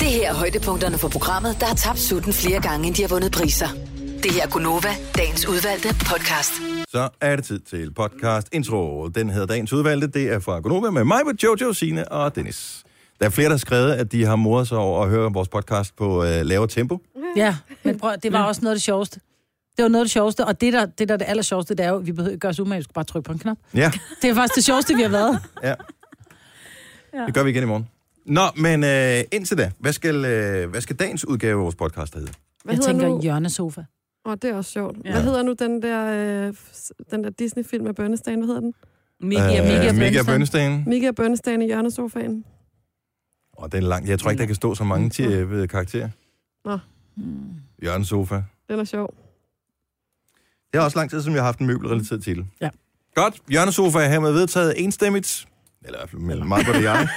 Det her er højdepunkterne for programmet, der har tabt sutten flere gange, end de har vundet priser. Det her er Gunova, dagens udvalgte podcast. Så er det tid til podcast intro. Den hedder Dagens Udvalgte. Det er fra Gonova med mig, med Jojo, Sine og Dennis. Der er flere, der har skrevet, at de har moret sig over at høre vores podcast på øh, lavere tempo. Ja, men prøv, det var også noget af det sjoveste. Det var noget af det sjoveste, og det der, det der er det aller sjoveste, det er jo, at vi behøver ikke gøre os umage, vi skal bare trykke på en knap. Ja, Det er faktisk det sjoveste, vi har været. ja. Det gør vi igen i morgen. Nå, men øh, indtil da, hvad skal, øh, hvad skal dagens udgave af vores podcast hedde? Hvad jeg tænker, nu? hjørnesofa. Åh, oh, det er også sjovt. Ja. Hvad hedder nu den der, øh, f- den der Disney-film med Bønnestan? Hvad hedder den? Miki Øh, og Miki og Mika Bønsen. Bønnestan. Mika og Bønnestan i hjørnesofaen. Og den er lang. Jeg tror ikke, der kan stå så mange til, øh, karakterer. Nå. Mm. Jørgens sofa. Den er sjov. Det er også lang tid, som jeg har haft en møbelrelateret til. Ja. Godt. Jørgen Sofa er hermed vedtaget enstemmigt. Eller i hvert fald mellem mig og jeg.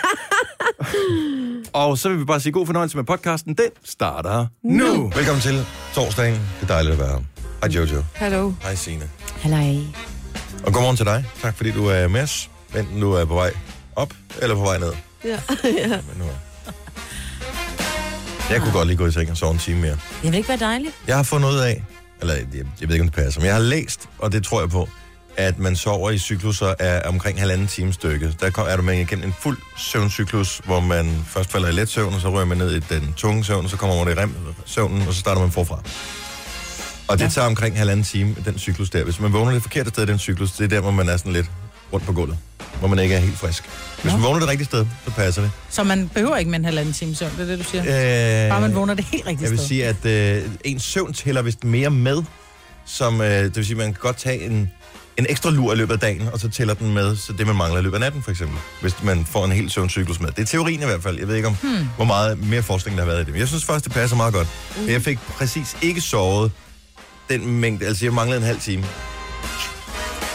og så vil vi bare sige god fornøjelse med podcasten. Den starter nu. nu. Velkommen til torsdagen. Det er dejligt at være her. Hej Jojo. Hallo. Hej Signe. Halløj. Og godmorgen til dig. Tak fordi du er med os. Enten du er på vej op eller på vej ned. Ja. Men nu er... Jeg kunne godt lige gå i seng og sove en time mere. Det vil ikke være dejligt. Jeg har fundet ud af, eller jeg, jeg ved ikke, om det passer, men jeg har læst, og det tror jeg på, at man sover i cykluser af omkring halvanden time stykke. Der kom, er du med igennem en fuld søvncyklus, hvor man først falder i let søvn, og så rører man ned i den tunge søvn, så kommer man over i rem søvnen, og så starter man forfra. Og det ja. tager omkring halvanden time, den cyklus der. Hvis man vågner det forkerte sted i den cyklus, det er der, hvor man er sådan lidt rundt på gulvet. Hvor man ikke er helt frisk. Hvis man vågner det rigtige sted, så passer det. Så man behøver ikke med en halvanden time søvn, det er det, du siger. Øh, Bare man vågner det helt rigtigt jeg vil sted. sige, at øh, ens søvn tæller vist mere med, som, øh, det vil sige, at man kan godt tage en, en ekstra lur i løbet af dagen, og så tæller den med, så det man mangler i løbet af natten for eksempel, hvis man får en hel søvncyklus med. Det er teorien i hvert fald. Jeg ved ikke, om hmm. hvor meget mere forskning der har været i det. Men jeg synes først, det passer meget godt. Mm. Jeg fik præcis ikke sovet den mængde, altså jeg manglede en halv time.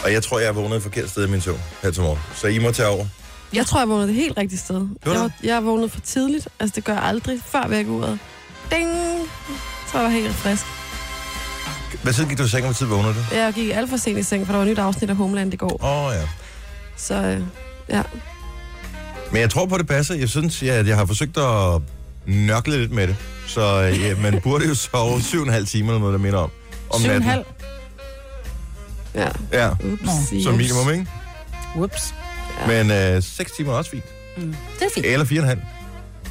Og jeg tror, jeg er vågnet et forkert sted i min søvn her til morgen. Så I må tage over. Jeg tror, jeg vågnede det helt rigtige sted. Jeg, var, jeg vågnede for tidligt. Altså, det gør jeg aldrig før vækkeuret. Ding! Så var jeg helt frisk. Hvad tid gik du i seng, og hvor tid vågnede du? Jeg gik alt for sent i seng, for der var et nyt afsnit af Homeland i går. Åh oh, ja. Så øh, ja, Men jeg tror på, det passer. Jeg synes, jeg, at jeg har forsøgt at nørkle lidt med det. Så ja, man burde jo sove 7,5 timer eller noget, der minder om. om Syv og en natten. halv. ja. Ja, Ups, som minimum, ikke? Whoops. Men øh, 6 timer er også fint. Det er fint. Eller 4,5.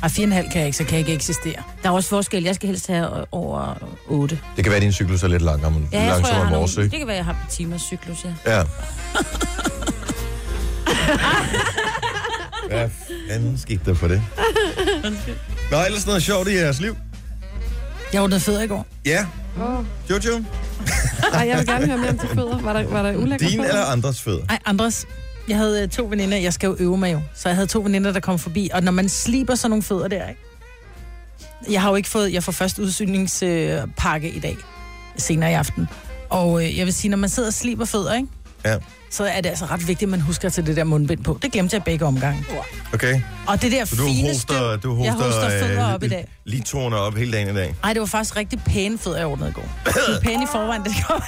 Ej, fire og en halv kan jeg ikke, så kan jeg ikke eksistere. Der er også forskel. Jeg skal helst have over 8. Det kan være, at din cyklus er lidt langsommere, Ja, jeg tror, jeg langsommere har end nogle... vores, ikke? Det kan være, jeg har timers cyklus, ja. Ja. Hvad fanden skete der for det? Nå, ellers noget sjovt i jeres liv? Jeg var noget fed i går. Ja, Oh. Jojo. Ej, jeg vil gerne høre mere om de fødder. Var der, var der ulækker Din eller andres fødder? Ej, Andres, jeg havde øh, to veninder, jeg skal jo øve mig jo. Så jeg havde to veninder, der kom forbi, og når man sliber sådan nogle fødder der, ikke? Jeg har jo ikke fået, jeg får først udsynningspakke øh, pakke i dag, senere i aften. Og øh, jeg vil sige, når man sidder og sliber fødder, ikke? Ja, så er det altså ret vigtigt, at man husker til det der mundbind på. Det glemte jeg begge omgange. okay. Og det der Så du fine hoster, støv, du hoster, jeg hoster fødder øh, op i dag. Lige toner op hele dagen i dag. Ej, det var faktisk rigtig pæne fødder, jeg ordnede i går. De var pæne i forvejen, da de kom.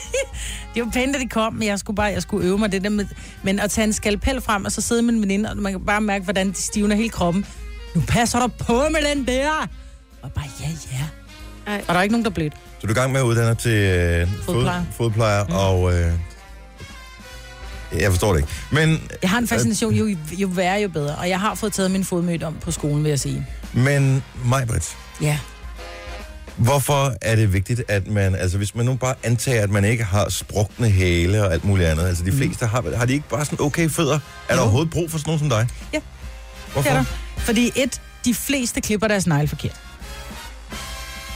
de var pæne, da de kom, men jeg skulle bare jeg skulle øve mig det der med... Men at tage en skalpel frem, og så sidde med en veninde, og man kan bare mærke, hvordan de stivner hele kroppen. Nu passer du på med den der! Og bare, ja, ja. Ej. Og der er ikke nogen, der blødt. Så du er i gang med at uddanne dig til øh, fodplejer, Fodplejer. fod, fodplejer mm. og... Øh, jeg forstår det ikke. Men, øh, Jeg har en fascination, jo, jo værre, jo bedre. Og jeg har fået taget min fodmødt om på skolen, vil jeg sige. men Majbrit, Ja. hvorfor er det vigtigt, at man... Altså, hvis man nu bare antager, at man ikke har sprukne hæle og alt muligt andet. Altså, de fleste har... Har de ikke bare sådan okay fødder? Er der Mm. Jo. overhovedet brug for sådan nogen som dig? Ja. Hvorfor? Det er der. Fordi et, de fleste klipper deres negle forkert.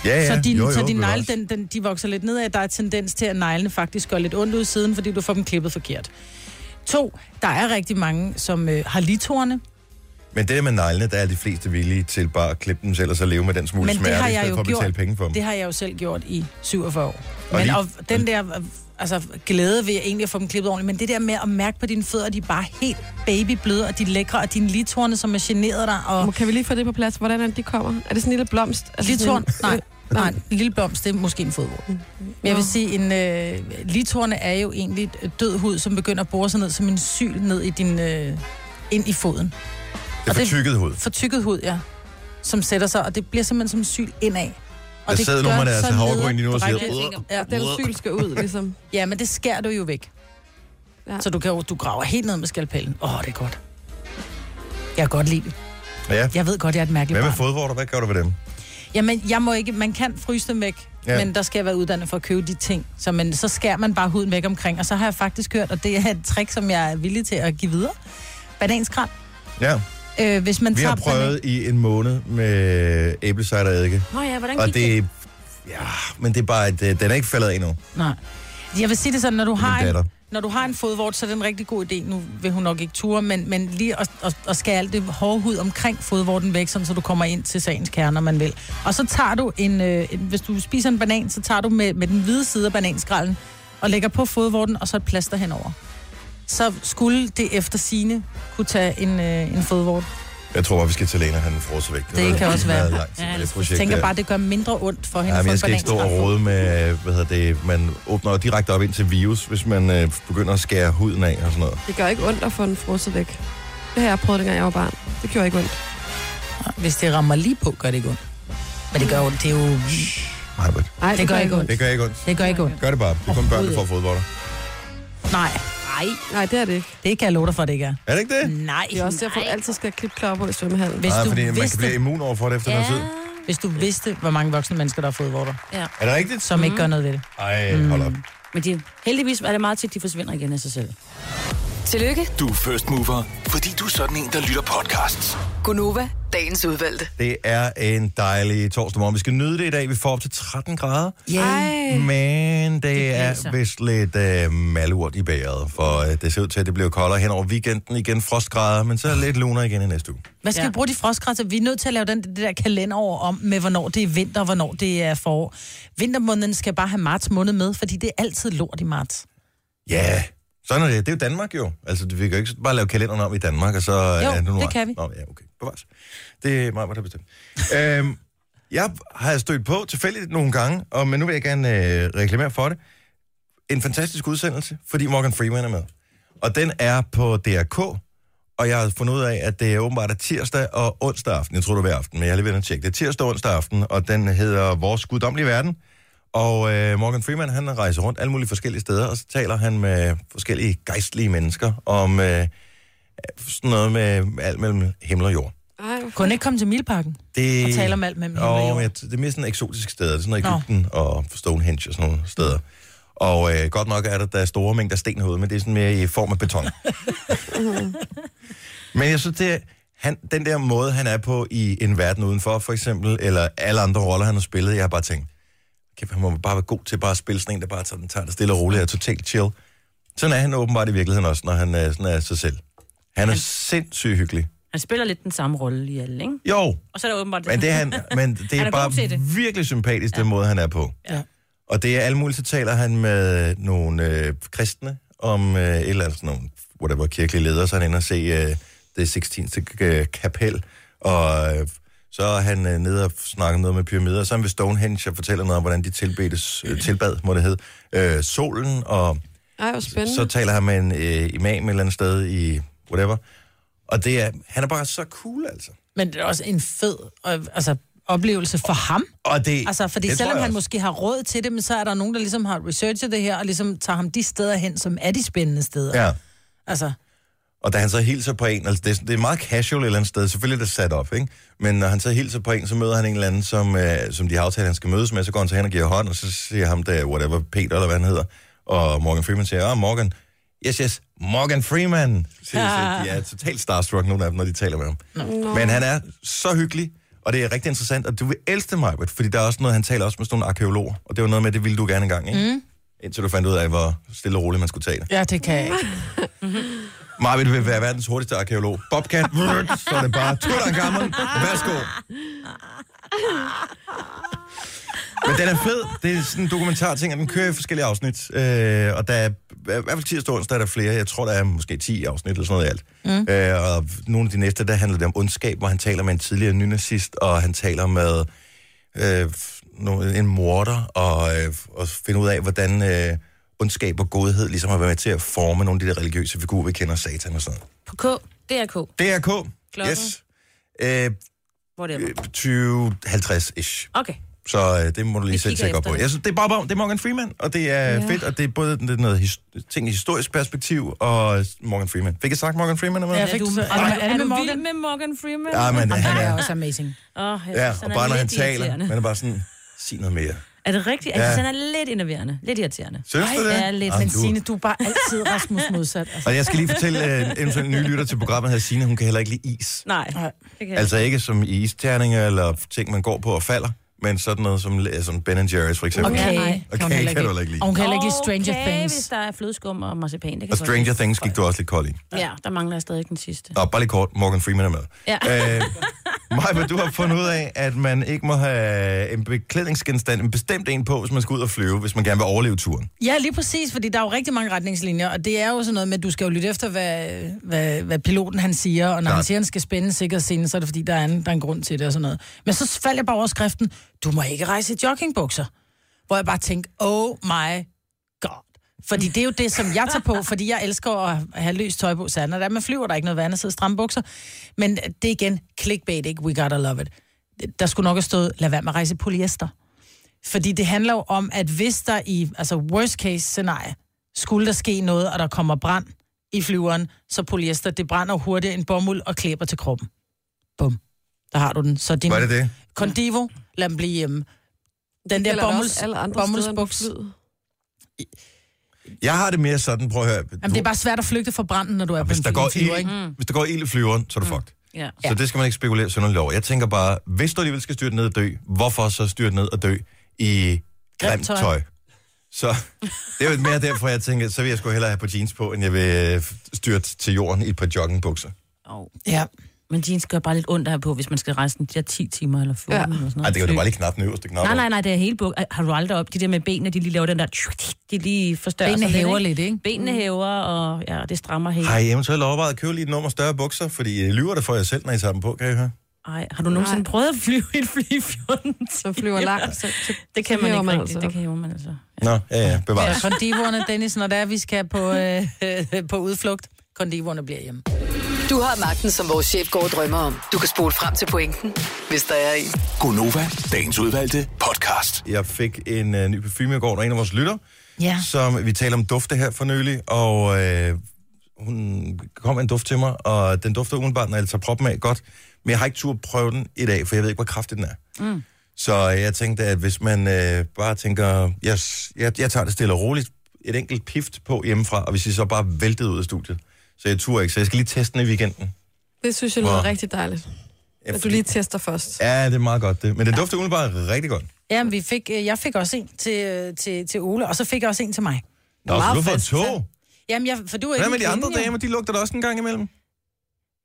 Ja, ja. så din, jo, jo, så din men negle, også- den, den, de vokser lidt nedad. Der er tendens til, at neglene faktisk går lidt ondt ud siden, fordi du får dem klippet forkert. To, der er rigtig mange, som øh, har litorne, Men det der med neglene, der er de fleste villige til bare at klippe dem selv, og så leve med den smule men smerte, det har i jeg stedet jo for at gjort. betale penge for dem. Det har jeg jo selv gjort i 47 år. Og Og men lige- og den der øh, altså, glæde ved egentlig at få dem klippet ordentligt, men det der med at mærke på dine fødder, at de er bare helt babybløde, og de er lækre, og dine litorne, som er generet dig, og... Må- Kan vi lige få det på plads? Hvordan er det, de kommer? Er det sådan en lille blomst? Er det sådan Litorn, en- nej, nej, en lille blomst, det er måske en fodvort. Men jeg vil sige, en øh, litorne er jo egentlig død hud, som begynder at bore sig ned som en syl ned i din, øh, ind i foden. Det er og det- fortykket hud. Fortykket hud, ja. som sætter sig, og det bliver simpelthen som en syl indad. Der sidder nogen med deres Altså, havregryn lige nu og siger, nederdrægtigt. "Uah." Ja, Den syl skal ud, ligesom. ja, men det skærer du jo væk. Ja. Ja. Så du, kan, jo- du graver helt ned med skalpellen. Åh, oh, det er godt. Jeg kan godt lide det. Ja. Jeg ved godt, jeg er et mærkeligt Hvad med barn. fodvorter? Hvad gør du ved dem? Jamen, jeg må ikke, man kan fryse dem væk, Ja. ja. men der skal jeg være uddannet for at købe de ting. Så, men, så skærer man bare huden væk omkring, og så har jeg faktisk hørt, og det er et trick, som jeg er villig til at give videre. Bananskram. Ja, Øh, hvis man vi tager har prøvet i en måned med æblecider og eddike. Nå ja, hvordan Og gik det? det Ja, men det er bare, at øh, den er ikke faldet af endnu. Nej. Jeg vil sige det sådan, når du, har datter. en, når du har en fodvort, så er det en rigtig god idé. Nu vil hun nok ikke ture, men, men lige at, at, at skære alt det hårde hud omkring fodvorten væk, sådan, så du kommer ind til sagens kerne, når man vil. Og så tager du en, øh, en hvis du spiser en banan, så tager du med, med den hvide side af bananskrallen og lægger på fodvorten, og så et plaster henover. Så skulle det efter sine kunne tage en, øh, en fodvort. Jeg tror bare, vi skal til Lena, han froser væk. Det var- kan også være. meget lang tid Ja, med jeg det øh, projekt Jeg tænker der. bare, det gør mindre ondt for hende. Ja, at få men en jeg skal ikke stå og bananskrald på. rode med, hvad hedder det, man åbner jo direkte op ind til virus, hvis man øh, begynder at skære huden af og sådan noget. Det gør ikke ondt at få den frosset væk. Det har jeg prøvet, dengang jeg var barn. Det gjorde ikke ondt. Hvis det rammer lige på, gør det ikke ondt. Men det gør ondt. Det, er jo, Nej, men Nej, det gør ikke ondt. det gør ikke ondt. det gør ikke ondt. Gør det bare. Det er kun børn, der får Overhovedet fodbold. Nej, Nej, Nej, det er det ikke. det kan jeg love dig for, det ikke er. Er det ikke det? Nej. Det er også derfor, jeg altid skal have klipklapper på i svømmehallen. Hvis, Nej, du fordi man kan vidste, blive immun over for det efter ja. ja. noget tid. hvis du vidste, hvor mange voksne mennesker, der har fået vorter, Er det rigtigt? som mm. ikke gør noget ved det. Ej, hold op. Men de, heldigvis er det meget tit, de forsvinder igen af sig selv. Tillykke, Du er first mover, fordi du er sådan en, der lytter podcasts. Gunova, dagens udvalgte. Det er en dejlig torsdag morgen. Vi skal nyde det i dag. Vi får op til 13 grader. Ej, Men det er blæser. vist lidt øh, malurt i bæret, for øh, det ser ud til, at det bliver koldere hen over weekenden igen. Frostgrader, men så lidt luner igen i næste uge. Hvad skal ja. Ja. vi bruge de frostgræsser? Vi er nødt til at lave den, det der kalender over om, med hvornår det er vinter og hvornår det er forår. Vintermåneden skal bare have marts måned med, fordi det er altid lort i marts. Ja, sådan er det. Det er jo Danmark jo. Altså, vi kan jo ikke bare lave kalenderen om i Danmark, og så... Jo, er nu det ret. kan vi. Nå, ja, okay. Bevares. Det er mig, der bestemt. øhm, jeg har stødt på tilfældigt nogle gange, og, men nu vil jeg gerne øh, reklamere for det. En fantastisk udsendelse, fordi Morgan Freeman er med. Og den er på DRK, og jeg har fundet ud af, at det er åbenbart er tirsdag og onsdag aften. Jeg tror, det var hver aften, men jeg har lige været inde og tjekke. Det er tirsdag og onsdag aften, og den hedder Vores Guddommelige Verden. Og øh, Morgan Freeman, han rejser rundt alle mulige forskellige steder, og så taler han med forskellige gejstlige mennesker om øh, sådan noget med alt mellem himmel og jord. ej, hvor Kunne han ikke komme til Milparken? Det, Og taler om alt mellem himmel og og jord. jeg, Det er mere sådan eksotiske steder. Det er sådan Nå. noget Ægypten og Stonehenge og sådan nogle steder. Og øh, godt nok er der, der er store mængder sten herude, men det er sådan mere i form af beton. men jeg synes, det er, han, den der måde, han er på i En Verden Udenfor, for eksempel, eller alle andre roller, han har spillet, jeg har bare tænkt, kæft, han må bare være god til bare at spille sådan en, der bare tager, den, tager det stille og roligt og er totalt chill. Sådan er han åbenbart i virkeligheden også, når han øh, sådan er sig selv. Han er sindssygt hyggelig. Han spiller lidt den samme rolle i alle, ikke? Jo, Og så er der åbenbart... men det er, han, men det er, Han er god bare til det. virkelig sympatisk, den måde, han er på. Ja. Og det er alle mulige, så taler han med nogle øh, kristne om øh, et eller andet sådan nogle, whatever, kirkelige ledere, så er han inde og se øh, det 16. øh, kapel, og øh, så er han øh, nede og snakker noget med pyramider, så er han ved Stonehenge og fortæller noget om, hvordan de tilbedes, øh, tilbad, må det hedde, øh, solen, og Mm. ej, hvor spændende. så taler han med en øh, imam et eller andet sted i whatever. Og det er, han er bare så cool, altså. Men det er også en fed øh, altså, oplevelse for ham. Og det, Altså, fordi det det tror selvom jeg han også. måske har råd til det, men så er der nogen, der ligesom har researchet det her, og ligesom tager ham de steder hen, som er de spændende steder. Ja. Altså, Og da han så hilser på en, altså det, er sådan- det er meget casual et eller andet sted, selvfølgelig er det sat op, ikke? Men når han så hilser på en, så møder han en eller anden, som, øh, som de har aftalt, han skal mødes med, så går han så hen og giver hånd, og så siger ham der, whatever, Peter eller hvad han hedder, og Morgan Freeman siger, ah, Morgan, yes, yes, Morgan Freeman! Siger, ah. De er totalt starstruck, nogle af dem, når de taler med ham. No. Men han er så hyggelig, og det er rigtig interessant, og du vil elske mig, fordi der er også noget, han taler også med sådan nogle arkeologer, og det var noget med, det ville du gerne engang, ikke? Mm. Indtil du fandt ud af, hvor stille og roligt man skulle tage det. ja, det kan jeg ikke. Marvin vil være verdens hurtigste arkeolog. Bobcat, vrrt, så er det bare tutter gammel. Værsgo. Men den er fed. Det er sådan en dokumentar ting, og den kører i forskellige afsnit. Øh, og der er, i hvert fald tirsdag og onsdag er der flere. Jeg tror, der er måske 10 afsnit eller sådan noget i alt. Mm. Øh, og nogle af de næste, der handler det om ondskab, hvor han taler med en tidligere nynazist, og han taler med øh, no- en morder og, øh, og finde ud af, hvordan øh, ondskab og godhed ligesom har været med til at forme nogle af de der religiøse figurer, vi kender, satan og sådan noget. På K. Det er K. DRK, Klokken. yes. Øh, Whatever. 20-50-ish. Okay. Så øh, det må du lige Jeg selv kigger tjekke op efter på. det. Jeg synes, det er bare det er Morgan Freeman, og det er ja. Ja. fedt, og det er både det er noget his- ting i historisk perspektiv, og Morgan Freeman. Fik jeg sagt Morgan Freeman? Eller Ja, hvad? fik du, du så- er, Ej, du, er, er det du med vild Morgan? med Morgan Freeman? Ja, men Han han er er... også amazing. Åh, jeg Ja, synes, og er bare når han lidt taler, irriterende. man er bare sådan, sig noget mere. Er det rigtigt? Jeg Ja. synes, han er lidt enerverende. Lidt irriterende. Synes du det? Ja, lidt. Ej, Men du- Signe, du er bare altid Rasmus modsat. Altså. Og jeg skal lige fortælle øh, eventuelt nye lytter til programmet her, Signe, hun kan heller ikke lide is. Nej. Nej. det kan jeg Altså ikke som i isterninger eller ting, man går på og falder, men sådan noget som, øh, som Ben Jerry's for eksempel. Okay, nej. okay, Okay, kan du heller ikke lide. Og hun kan heller ikke lide Stranger okay, hvis Things. der er flødeskum og marcipan. Det Og kan jeg godt Stranger lide. Things gik du også lidt kold i. Ja, der mangler jeg stadig den sidste. Nå, bare lige kort, Morgan Freeman er med. Ja. Øh, Maja, du har fundet ud af, at man ikke må have en beklædningsgenstand, en bestemt en på, hvis man skal ud og flyve, hvis man gerne vil overleve turen. Ja, lige præcis, fordi der er jo rigtig mange retningslinjer, og det er jo sådan noget med, at du skal jo lytte efter, hvad, hvad, hvad piloten han siger, og når Klart. han siger, at han skal spænde sikkerhedsscenen, så er det fordi, der er, en, der er en grund til det og sådan noget. Men så faldt jeg bare over skriften, du må ikke rejse i joggingbukser. Hvor jeg bare tænkte, oh my god. Fordi det er jo det, som jeg tager på, fordi jeg elsker at have løst tøj på, særligt når der er, man flyver, der er ikke noget vand, sidder stramme bukser. Men det er igen clickbait, ikke? We gotta love it. Der skulle nok have stået, lad være med at rejse i polyester. Fordi det handler jo om, at hvis der i, altså worst case scenarie, skulle der ske noget, og der kommer brand i flyveren, så polyester, det brænder hurtigt en bomuld og klæber til kroppen. Bum. Der har du den. Så din Var det det? Condivo, lad dem blive hjemme. Den der bomulds, bomuldsbuks. Jeg har det mere sådan, prøv at høre. Jamen, det er bare svært at flygte fra branden, når du er på hvis, en der går flyver, ikke? Mm. ild, hvis der går ild i flyveren, så er du fucked. Ja. Så det skal man ikke spekulere sådan lov. Jeg tænker bare, hvis du alligevel skal styrte ned og dø, hvorfor så styrte ned og dø i grimt Grimt tøj. tøj? Så det er jo mere derfor, jeg tænker, så vil jeg sgu hellere have på jeans på, end jeg vil øh, styrte til jorden i et par joggingbukser. Oh. Ja. Men jeans gør bare lidt ondt at have på, hvis man skal rejse den de der 10 timer eller 14 ja. Ja. eller sådan noget. Nej, det kan du bare lige knap den øverste knap. Nej, op. nej, nej, det er hele buk. Har du aldrig op? De der med benene, de lige laver den der... De lige forstørrer Benene sig hæver ikke? lidt, ikke? Benene hæver, og ja, det strammer helt. Har I eventuelt overvejet at købe lige et nummer større bukser? Fordi I lyver det for jer selv, når I tager dem på, kan I høre? Ej, har du nogensinde prøvet at flyve i et fly i 14 Som flyver langt, så, så Det kan så man hæver ikke rigtigt. altså. Det kan hæver man altså. Nå, ja, ja, bevares. Så kondivorerne, Dennis, når det er, vi skal på, øh, øh, på udflugt, kondivorerne bliver hjemme. Du har magten, som vores chef går og drømmer om. Du kan spole frem til pointen, hvis der er en. Gonova, dagens udvalgte podcast. Jeg fik en øh, ny parfume i går, der er en af vores lytter, Ja. som vi taler om dufte her for nylig, og øh, hun kom med en duft til mig, og den dufter umiddelbart, når jeg tager proppen af godt, men jeg har ikke tur at prøve den i dag, for jeg ved ikke, hvor kraftig den er. Mm. Så jeg tænkte, at hvis man øh, bare tænker, jeg, s- jeg, jeg tager det stille og roligt, et enkelt pift på hjemmefra, og hvis I så bare væltede ud af studiet, så jeg turer ikke, så jeg skal lige teste den i weekenden. det synes jeg lyder Hvor- rigtig dejligt. Ja, At du lige tester først. Ja, det er meget godt det. Men den dufter umiddelbart rigtig godt. Ja, men vi fik, øh, jeg fik også en til, øh, til, til Ole, og så fik jeg også en til mig. Nå, så meget du får frisk, to. Jamen, jeg, for du er ikke Hvad med en de andre kvinde, jo. damer? De lugter da også en gang imellem.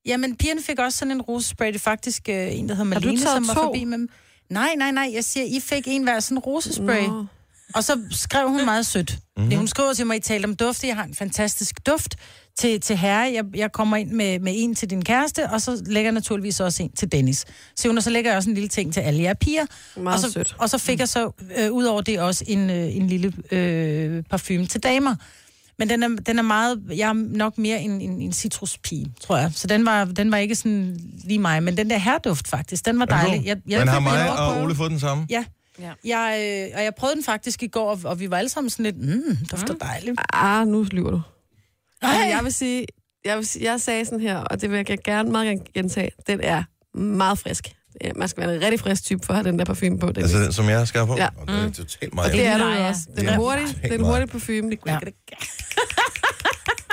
Jamen, pigerne fik også sådan en rosespray. Det er faktisk øh, en, der hedder Har du Malene, taget som var to? forbi med dem. Nej, nej, nej. Jeg siger, I fik en hver sådan en rosespray. Nå. Og så skrev hun meget sødt. Mhm. Mm-hmm. Hun skriver til mig, I talte om dufte. Jeg har en fantastisk duft til, til herre. Jeg, jeg kommer ind med, med en til din kæreste, og så lægger jeg naturligvis også en til Dennis. Så hun, og så lægger jeg også en lille ting til alle jer piger. Meget og så, sødt. Og så fik jeg så, øh, ud over det, også en, øh, en lille øh, parfume til damer. Men den er, den er meget, jeg er nok mere en, en, en citruspige, tror jeg. Så den var, den var ikke sådan lige mig. Men den der herreduft faktisk, den var dejlig. Jeg, jeg, Men har fik- mig jeg var- og Ole fået den samme? Ja. Ja. Jeg, øh, og jeg prøvede den faktisk i går, og, og vi var alle sammen sådan lidt, mm, dufter dejligt. Ah, nu lyver du. Ej. Jeg vil sige, jeg, vil sige, jeg sagde sådan her, og det vil jeg gerne meget gerne gentage, den er meget frisk. Ja, Man skal være en rigtig frisk type for at have den der parfume på. Den Altså den, som jeg skal på? Ja. Og det Mm. er totalt meget. det er den du leger. jo også. Den Ja. er hurtig, den er en hurtig parfume. Ja.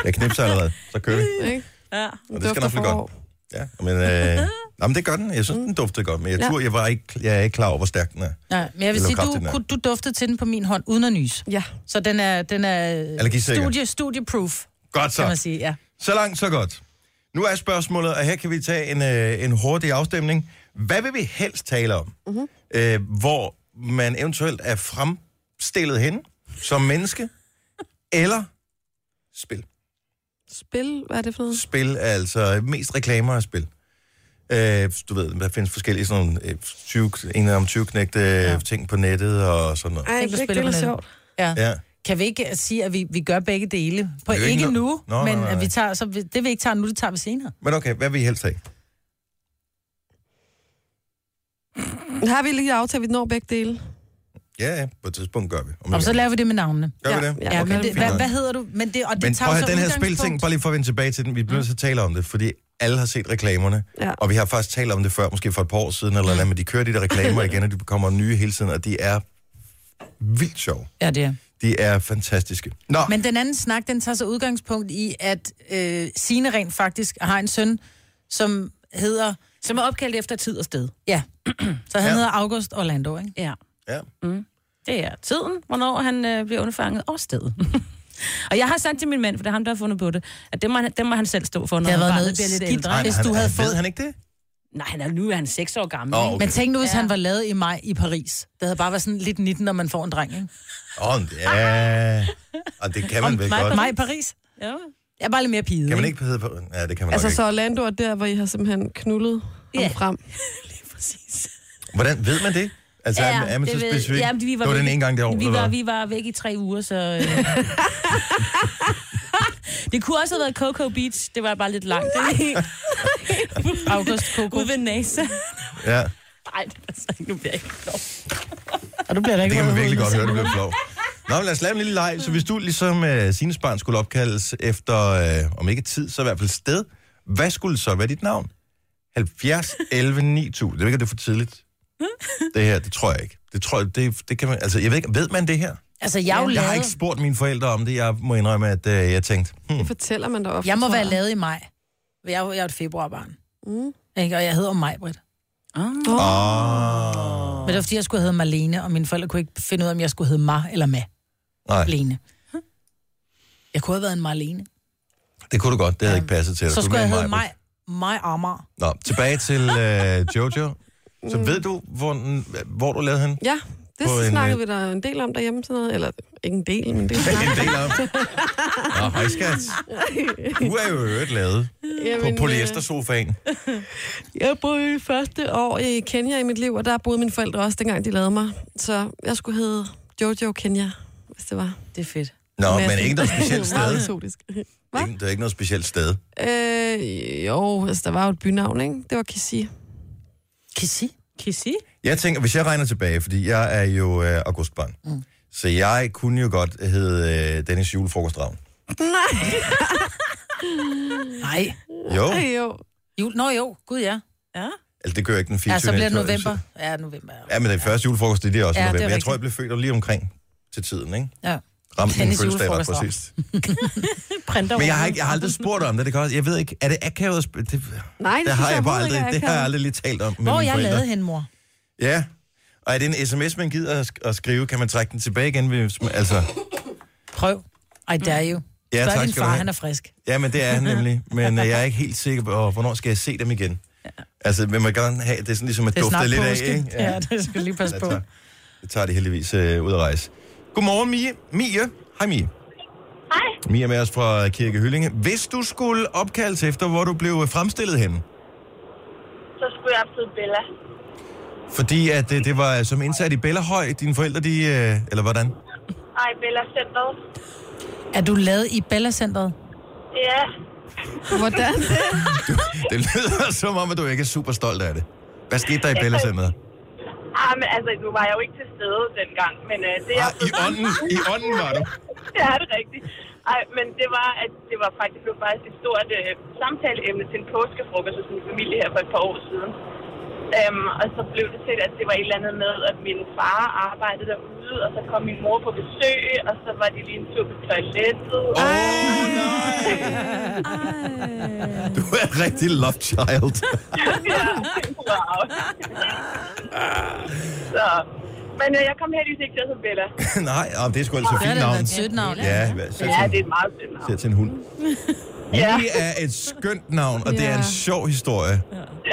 Jeg knipser allerede. Så kører vi. Ikke? Ja. Og det skal nok blive godt. Ja, men, øh, nå, men det gør den. Jeg synes, den duftede godt. Men jeg, Ja. tror, jeg, var ikke, jeg er ikke klar over, hvor stærk den er. Nej, men jeg vil Eller sige, kraftigt, den du, er. kunne, du duftede til den på min hånd, uden at nys. Ja, Så den er, den er Allergisikker. studie, studieproof, Godt kan man så. sige. Ja. Så langt, så godt. Nu er spørgsmålet, og her kan vi tage en, øh, en hurtig afstemning. Hvad vil vi helst tale om? Mhm. Mm-hmm. Øh, hvor man eventuelt er fremstillet hen som menneske, eller spil. spil, hvad er det for noget? spil, er altså mest reklamer af spil. Øh, du ved, der findes forskellige sådan nogle, øh, 20, en om 20 knægte ja. øh, ting på nettet og sådan noget. Ej, Tænk, det, du det, det spiller er med sjovt. Ja. Ja. Kan vi ikke øh, sige, at vi, vi gør begge dele? På Det er jo ikke ikke, ikke noget- nu, Nå, nej, men nej, nej. At vi tager, så vi, det vi ikke tager nu, det tager vi senere. Men okay, hvad vil I helst have? Har vi lige aftalt, at vi når begge dele? Ja, ja, på et tidspunkt gør vi. Om Og lidt. så laver vi det med navnene. Gør vi Ja, det? ja, Ja, okay, men det, fint hvad, nok. hvad hedder du? Men det, og det Men tager prøv at så høre, den her udgangspunkt- spilting, bare lige for at vende tilbage til den, vi bliver nødt til at tale om det, fordi alle har set reklamerne, Ja. og vi har faktisk talt om det før, måske for et par år siden, eller noget, men de kører de der reklamer igen, og de kommer nye hele tiden, og de er vildt sjove. Ja, det er. De er fantastiske. Nå, men... Men den anden snak, den tager så udgangspunkt i, at øh, Signe rent faktisk har en søn, som hedder... Som er opkaldt efter tid og sted. Ja, så han Ja. ja. hedder August Orlando, ikke? Ja. ja. Det er tiden, hvornår han øh, bliver underfanget, og stedet. og jeg har sagt til min mand, for det er ham, der har fundet på det, at det må, han- det må han selv stå for, når Det har været barnet noget bliver lidt skidt. ældre. Ej, Hvis han, du havde han, Ved fået- han ikke det? Nej, han er, nu er han 6 år gammel. Åh, ikke? okay. Men tænk nu, hvis ja. han var lavet i maj i Paris. Det havde bare været sådan lidt 19, når man får en dreng, ikke? Åh, oh, ja. Og det kan man vel Maj, godt. maj i Paris. Ja. Jeg er bare lidt mere pige. Kan man ikke hedde på... Ja, det kan man Altså, altså, nok så Orlando er der, hvor I har simpelthen knullet yeah. Ja. ham frem. ikke. Hvordan ved man det? Altså, ja, er man så det ved- specifik? jamen, det var den væk- ene gang det år, vi eller var, hvad? vi var væk i tre uger, så... Øh. det kunne også have været Coco Beach. Det var bare lidt langt. ikke? August Coco. Ude ved NASA. Ja, Nej, det var så nu bliver jeg ikke klog. Og du bliver det da ikke kan man rød virkelig uden godt høre, det at se bliver flov. Nå, men lad os lave en lille leg. Så hvis du ligesom øh, Sines barn skulle opkaldes efter, øh, om ikke tid, så i hvert fald sted, hvad skulle så være dit navn? 70, 11, 9000. Jeg ved ikke, om det er for tidligt. Det her, det tror jeg ikke. Det tror jeg, det, det kan man, altså, jeg ved ikke, ved man det her? noget. Altså, jeg, er jo Jeg har lavet, ikke spurgt mine forældre om det. Jeg må indrømme, at øh, jeg tænkte, hmm, Det fortæller man da ofte, jeg må tror være lavet i maj. Jeg er jo, jeg er jo et februarbarn. Mm. Ikke? Og jeg hedder maj, Britt. Ah. åh, Men det var, fordi jeg skulle hedde Marlene, og mine forældre kunne ikke finde ud af, om jeg skulle hedde Ma eller Ma. nej, Lene. Jeg kunne have været en Marlene. det kunne du godt. Det havde ikke passet til dig. Så Du skulle jeg er hedde Maj-Brit. Maj, Maj Mm. Amager. Nå, tilbage til øh, Jojo. Så ved du, hvor, den- hvor du lavede hende? Ja, det På en, snakkede øh, vi da en del om derhjemme, sådan noget. Eller ikke en del, men det er en del af. Nå, hej skat. Du er jo i øvrigt lavet på øh, polyestersofaen. øh, Jeg boede i første år i Kenya i mit liv, og der boede mine forældre også, dengang de lavede mig. Så jeg skulle hedde Jojo Kenya, hvis det var. Det er fedt. Nå, men Madsen. ikke noget specielt sted. Meget eksotisk. Hva? Ikke- Der er ikke noget specielt sted. Øh, jo, altså, der var jo et bynavn, ikke? Det var Kissi. Kissi. Kissi? Jeg tænker, hvis jeg regner tilbage, fordi jeg er jo øh, augustbarn, Mm. så jeg kunne jo godt hedde øh, Dennis Julefrokostravn. Nej. Jo, Ej, jo. Jul. Nå jo, gud ja. Ja. altså det gør ikke den 24. Ja, så bliver det så- november. Ja, november. Ja. Ja, men den første julefrokost, det er også ja, Ja, det er november. Jeg rigtigt. tror, jeg blev født lige omkring til tiden, ikke? ja. Ramte min Dennis fødselsdag ret julefrokost, præcist. Printer Men jeg over har, ham. ikke, jeg har aldrig spurgt om det. det kan også, jeg ved ikke, er det akavet? at sp- Det, Nej, det det synes har jeg jeg bare overhovedet aldrig, ikke er det har jeg akavet. aldrig lige talt om med Hvor mine jeg forældre. lavede hende, mor. Ja, og er det en sms, man gider at sk- at skrive? Kan man trække den tilbage igen? hvis man- Altså, Prøv. I dare you. Ja, Ja, Spørg tak din skal du far, have. han er frisk. ja, men det er han nemlig. Men øh, jeg er ikke helt sikker på, og hvornår skal jeg se dem igen? Altså, men man kan gerne have, det er sådan ligesom at Det er dufte snart lidt af, påske. ikke? Ja. ja, det skal du lige passe Ja, på. tak. Det tager de heldigvis øh, ud at rejse. Godmorgen, Mie. Mie. Hej, Mie. Hej. Mie er med os fra Kirke Hyllinge. Hvis du skulle opkaldes efter, hvor du blev øh, fremstillet henne, Så skulle jeg blive Bella. fordi at øh, det var øh, som indsat i Bellahøj, dine forældre, de... Øh, eller hvordan? Ej, Bella Centeret. Er du lavet i Bella-centret? Ja. Hvordan? Det lyder som om, at du ikke er super stolt af det. Hvad skete der i Bellacenteret? Ah, men altså, nu var jeg jo ikke til stede dengang, men øh, det er... Ah, I ånden, i ånden var du. Ja, det er rigtigt. Ej, men det var, at det var faktisk, det blev faktisk et stort øh, samtaleemne til en påskefrokost hos min familie her for et par år siden. Øhm, og så blev det til, at det var et eller andet med, at min far arbejdede derude, og så kom min mor på besøg, og så var de lige en tur på toilettet. Åh, nej! Du er en rigtig love child. Ja, wow. så, men øh, jeg kom heldigvis ikke til som Bella. nej, ah, det er sgu altså Det fint har da navn. været et sødt navn. Ja, hvad- sæt Ja, det til, er et meget sødt en- navn. sæt til en hund. Ja. Det er et skønt navn, og det er en Ja. sjov historie.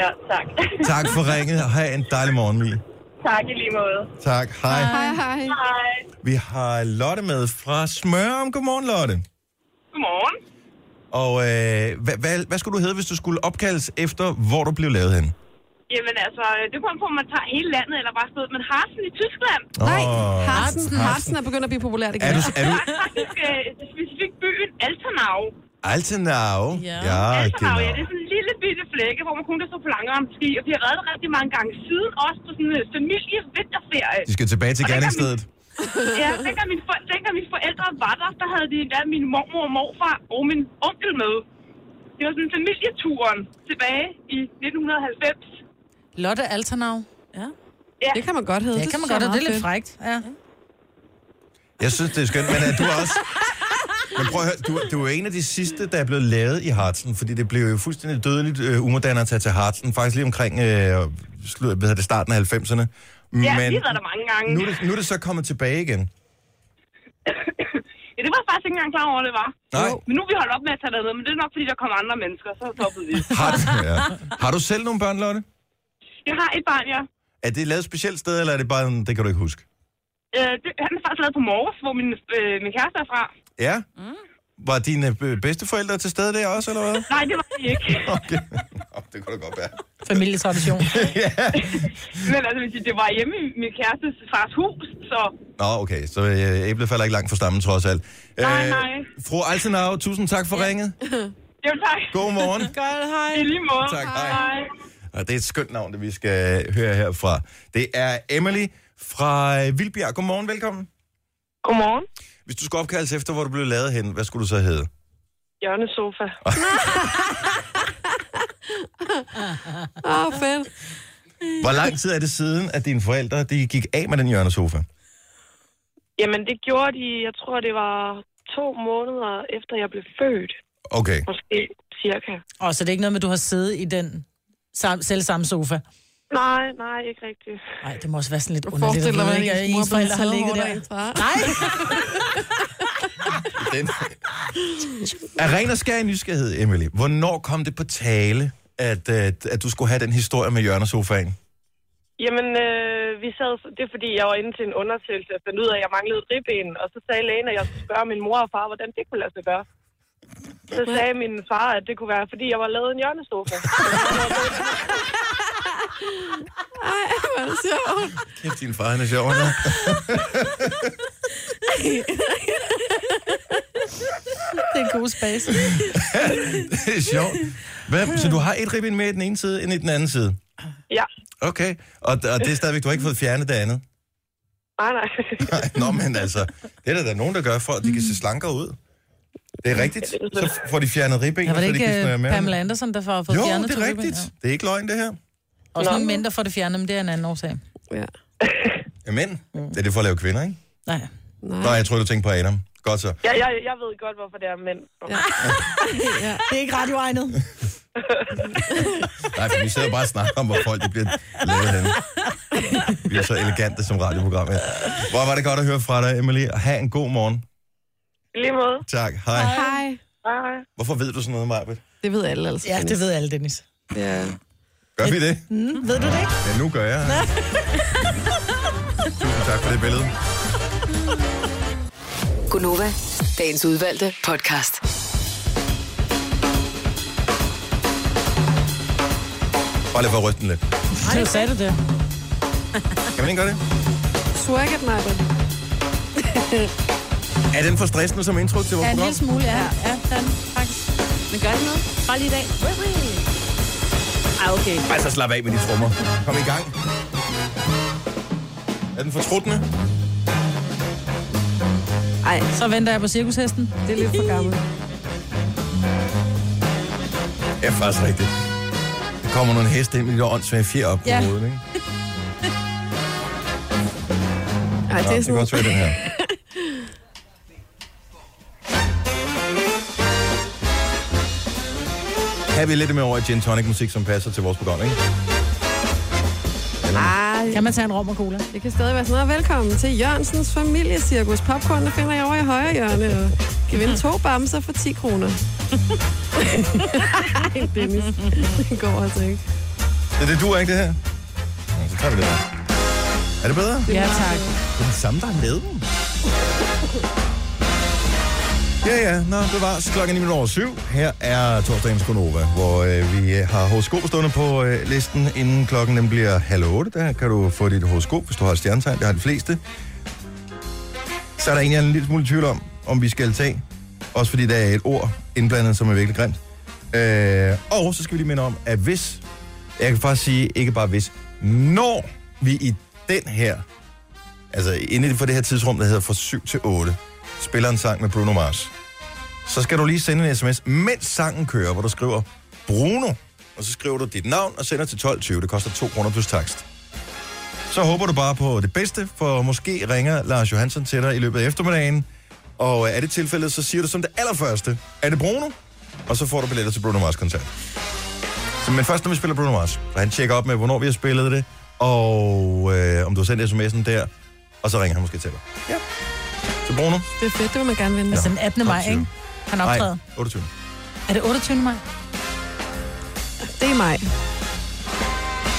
Ja, tak. Tak for ringet, og have en dejlig morgen, Mie. tak i lige måde. Tak, hej. Hej, hej. Hej. Vi har Lotte med fra Smørum. Godmorgen, Lotte. Godmorgen. Og øh, hvad, hvad, hvad skulle du hedde, hvis du skulle opkaldes efter, hvor du blev lavet hen? Jamen altså, det kommer på, om man tager hele landet, eller bare stedet. Men Harsen i Tyskland, Nej, Åh. Harsen. Harsen er begyndt at blive populært igen. Er du, er du faktisk øh, specifikt byen Altenau. Altenau? Ja. ja genau. Altenau, ja, det er sådan lille bitte flække, hvor man kun kan stå på langremsski, og vi har reddet rigtig mange gange siden, også på sådan øh, en familievinterferie. De skal tilbage til Og dengang min- gerningsstedet. Ja, dengang mine, for, dengang mine forældre var der, der havde de endda min mormor og morfar og min onkel med. Det var sådan familieturen tilbage i 1990. Lotte Alternau. Ja. Ja, Det kan man godt hedde. Det kan man godt, og det er lidt frægt. Ja. Jeg synes, det er skønt, men er du også... Men prøv at høre, du, du er en af de sidste, der er blevet lavet i Hartsen, fordi det blev jo fuldstændig dødeligt øh, umoderne at tage til Hartsen, faktisk lige omkring øh, slu, hvad hedder det, starten af 90'erne. Men ja vi har været der mange gange. nu, er det, nu er det så kommet tilbage igen. ja, det var jeg faktisk ikke engang klar over, det var. Nej. Men nu er vi holdt op med at tage derned, men det er nok, fordi der kom andre mennesker, så stoppede vi. Har, du- ja. har du selv nogle børn, Lotte? Jeg har et barn, ja. Er det lavet et specielt sted, eller er det bare... en- Det kan du ikke huske. Øh, det, han er faktisk lavet på Morges, hvor min, øh, min kæreste er fra. Ja? Mm. Var dine øh, bedsteforældre til stede der også, eller hvad? Nej, det var det ikke. Okay. Nå, det kunne da godt være. Familietradition. Men altså, hvis I- det var hjemme i min kærestes fars hus, så Nå, okay. Så øh, æblet falder ikke langt fra stammen, trods alt. Nej, Øh, nej. Fru Altenau, tusind tak for ringet. jo tak. God morgen. Godt, hej. I lige måde. Tak, hej. Og det er et skønt navn, det vi skal øh, høre herfra. Det er Emily fra øh, Vildbjerg. Godmorgen, velkommen. Godmorgen. Hvis du skulle opkaldes efter, hvor du blev lavet hen, hvad skulle du så hedde? Hjørnesofa. Åh, oh, fedt. Hvor lang tid er det siden, at dine forældre de gik af med den hjørnesofa? Jamen, det gjorde de, jeg tror, det var to måneder efter, jeg blev født. Okay. Måske cirka. Og så det er ikke noget med, at du har siddet i den sam, selv samme sofa. Nej, nej, ikke rigtigt. Nej, det må også være sådan lidt underligt. at Forestil dig, vide, hvordan ikke, at ens ens mor blev forældre har taget ligget hårdt der. derindefra. Nej, Den. Af ren og skær nysgerrighed, Emily. Hvornår kom det på tale, at, at, at du skulle have den historie med hjørnesofaen? Jamen, øh, vi sad, det er fordi, jeg var inde til en undersøgelse og fandt ud af, at jeg manglede ribben. Og så sagde lægen, at jeg skulle spørge min mor og far, hvordan det kunne lade sig gøre. Så sagde min far, at det kunne være, fordi jeg var lavet en hjørnesofa. Ej, hvor er det sjovt. Kæft, din far, han er sjov. han er. det er en god space. Det er sjovt. Hvad? Så du har et ribben med i den ene side, end i den anden side? ja, Okay. Og, og det er stadigvæk, du har ikke fået fjernet det andet? nej, nej. Nej, Nå, men altså, det er der, der er nogen, der gør, for at de Mm. kan se slankere ud. Det er rigtigt. Så får de fjernet ribben, Ja, var så det de kan ikke snøre øh, med. Pamela Andersen, der får fået Jo, fjernet det to er ribben? rigtigt. Det er ikke løgn, det her. Ja. Også nogle mænd, der får det fjernet, men det er en anden årsag. Jamen, Mm. det er det for at lave kvinder, ikke? Nej. Nå, jeg tror du tænkte på Adam. Godt så. Jeg, jeg, jeg ved godt, hvorfor det er mænd. Det er ikke radioegnet. Nej, for vi sidder bare og snakker om, hvor folk de bliver lavet henne. Vi er så elegante som radioprogram her. Hvor var det godt at høre fra dig, Emily. Og have en god morgen. I lige måde. Tak. Hej. Hej. Hej. Hej. Hvorfor ved du sådan noget, Marbet? Det ved alle, altså. Ja, det ved alle, Dennis. Ja. Gør vi det? Mm, ved du det ikke? Ja, nu gør jeg. Tusind tak for det billede. Gunova, dagens udvalgte podcast. Bare lige for at ryste den lidt. Nej, sagde du det. Kan man ikke gøre det? Swagget, Michael. Er den for stressende som intro til vores Ja, en program? lille smule, ja. Ja, den, faktisk. Men gør det noget? Bare lige i dag. Ej, okay. Ej, så slap af med de trommer. Kom i gang. Er den for truttende? Ej, Så venter jeg på cirkushesten. det er lidt for gammelt. Ja, faktisk rigtigt. Der kommer nogle heste ind med de der åndssvage fjer op på Ja. hovedet, ikke? Nå, Ej, det er det kan sådan... også være den her. Her er vi lidt med over i gin tonic musik, som passer til vores program, ikke? Ej, Kan man tage en rom og cola? det kan stadig være sådan noget. Velkommen til Jørgensens familiecirkus. Popcornene finder jeg over i højre hjørne. Og kan vinde to bamser for 10 kroner. Ej, Dennis. Det går altså ikke. Det, det duer ikke, det her. Nå, så tager vi det der. Er det bedre? Ja, tak. Det er den samme, der er med. Ja, ja. Nå, det var klokken 9 over syv. Her er torsdagens Gonova, hvor øh, vi øh, har horoskoper stående på øh, listen, inden klokken den bliver halv otte. Der kan du få dit horoskop, hvis du har et stjernetegn. Det har de fleste. Så er der en, jeg er en lille smule i tvivl om, om vi skal tage. Også fordi der er et ord indblandet, som er virkelig grimt. Øh, og så skal vi lige minde om, at hvis, jeg kan faktisk sige, ikke bare hvis, når vi i den her, altså inden for det her tidsrum, der hedder fra 7 til 8, spiller en sang med Bruno Mars, så skal du lige sende en sms, mens sangen kører, hvor du skriver Bruno, og så skriver du dit navn og sender til 12.20. Det koster 2 kroner plus takst. Så håber du bare på det bedste, for måske ringer Lars Johansson til dig i løbet af eftermiddagen. Og øh, er det tilfældet, så siger du som det allerførste, er det Bruno? Og så får du billetter til Bruno Mars koncert. Så, men først, når vi spiller Bruno Mars, så han tjekker op med, hvornår vi har spillet det, og øh, om du har sendt sms'en der, og så ringer han måske til dig. Ja. Så Bruno? Det er fedt, det vil man gerne vinde. Altså den 18. maj, 28. ikke? Han optræder. Nej, 28. Er det 28. maj? Det er mig.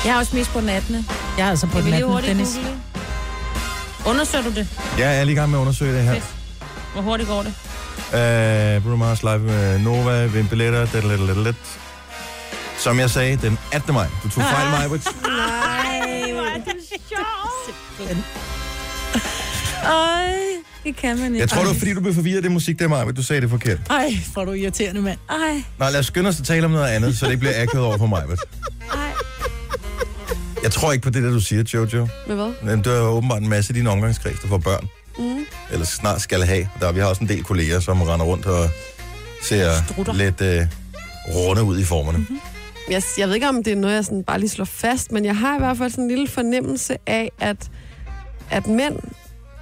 Jeg har også mest på den 18. Jeg Jeg er altså på vil den lige 18. hurtigt Dennis. google. Undersøger du det? Ja, jeg er lige i gang med at undersøge det her. Fedt. Hvor hurtigt går det? Uh, Bruno Mars live med Nova, vinde billetter, det, det, det, det. Som jeg sagde, den 18. maj. Du tog fejl, mig, Ej, hvor er det sjovt. Ej, det kan man ikke. Jeg tror, det var, fordi du blev forvirret af det musik, der mig, du sagde det forkert. Ej, hvor er du irriterende, mand. Ej, Nej, lad os skynde os at tale om noget andet, så det ikke bliver akavet over for mig. ej. Jeg tror ikke på det, der du siger, Jojo. Med hvad? Men der er åbenbart en masse i din omgangskreds, der får børn. Mm. Eller snart skal have. Der, vi har også en del kolleger, som render rundt og ser Strutter. lidt øh, runde ud i formerne. Mm-hmm. Jeg, jeg ved ikke, om det er noget, jeg sådan bare lige slår fast, men jeg har i hvert fald sådan en lille fornemmelse af, at, at mænd,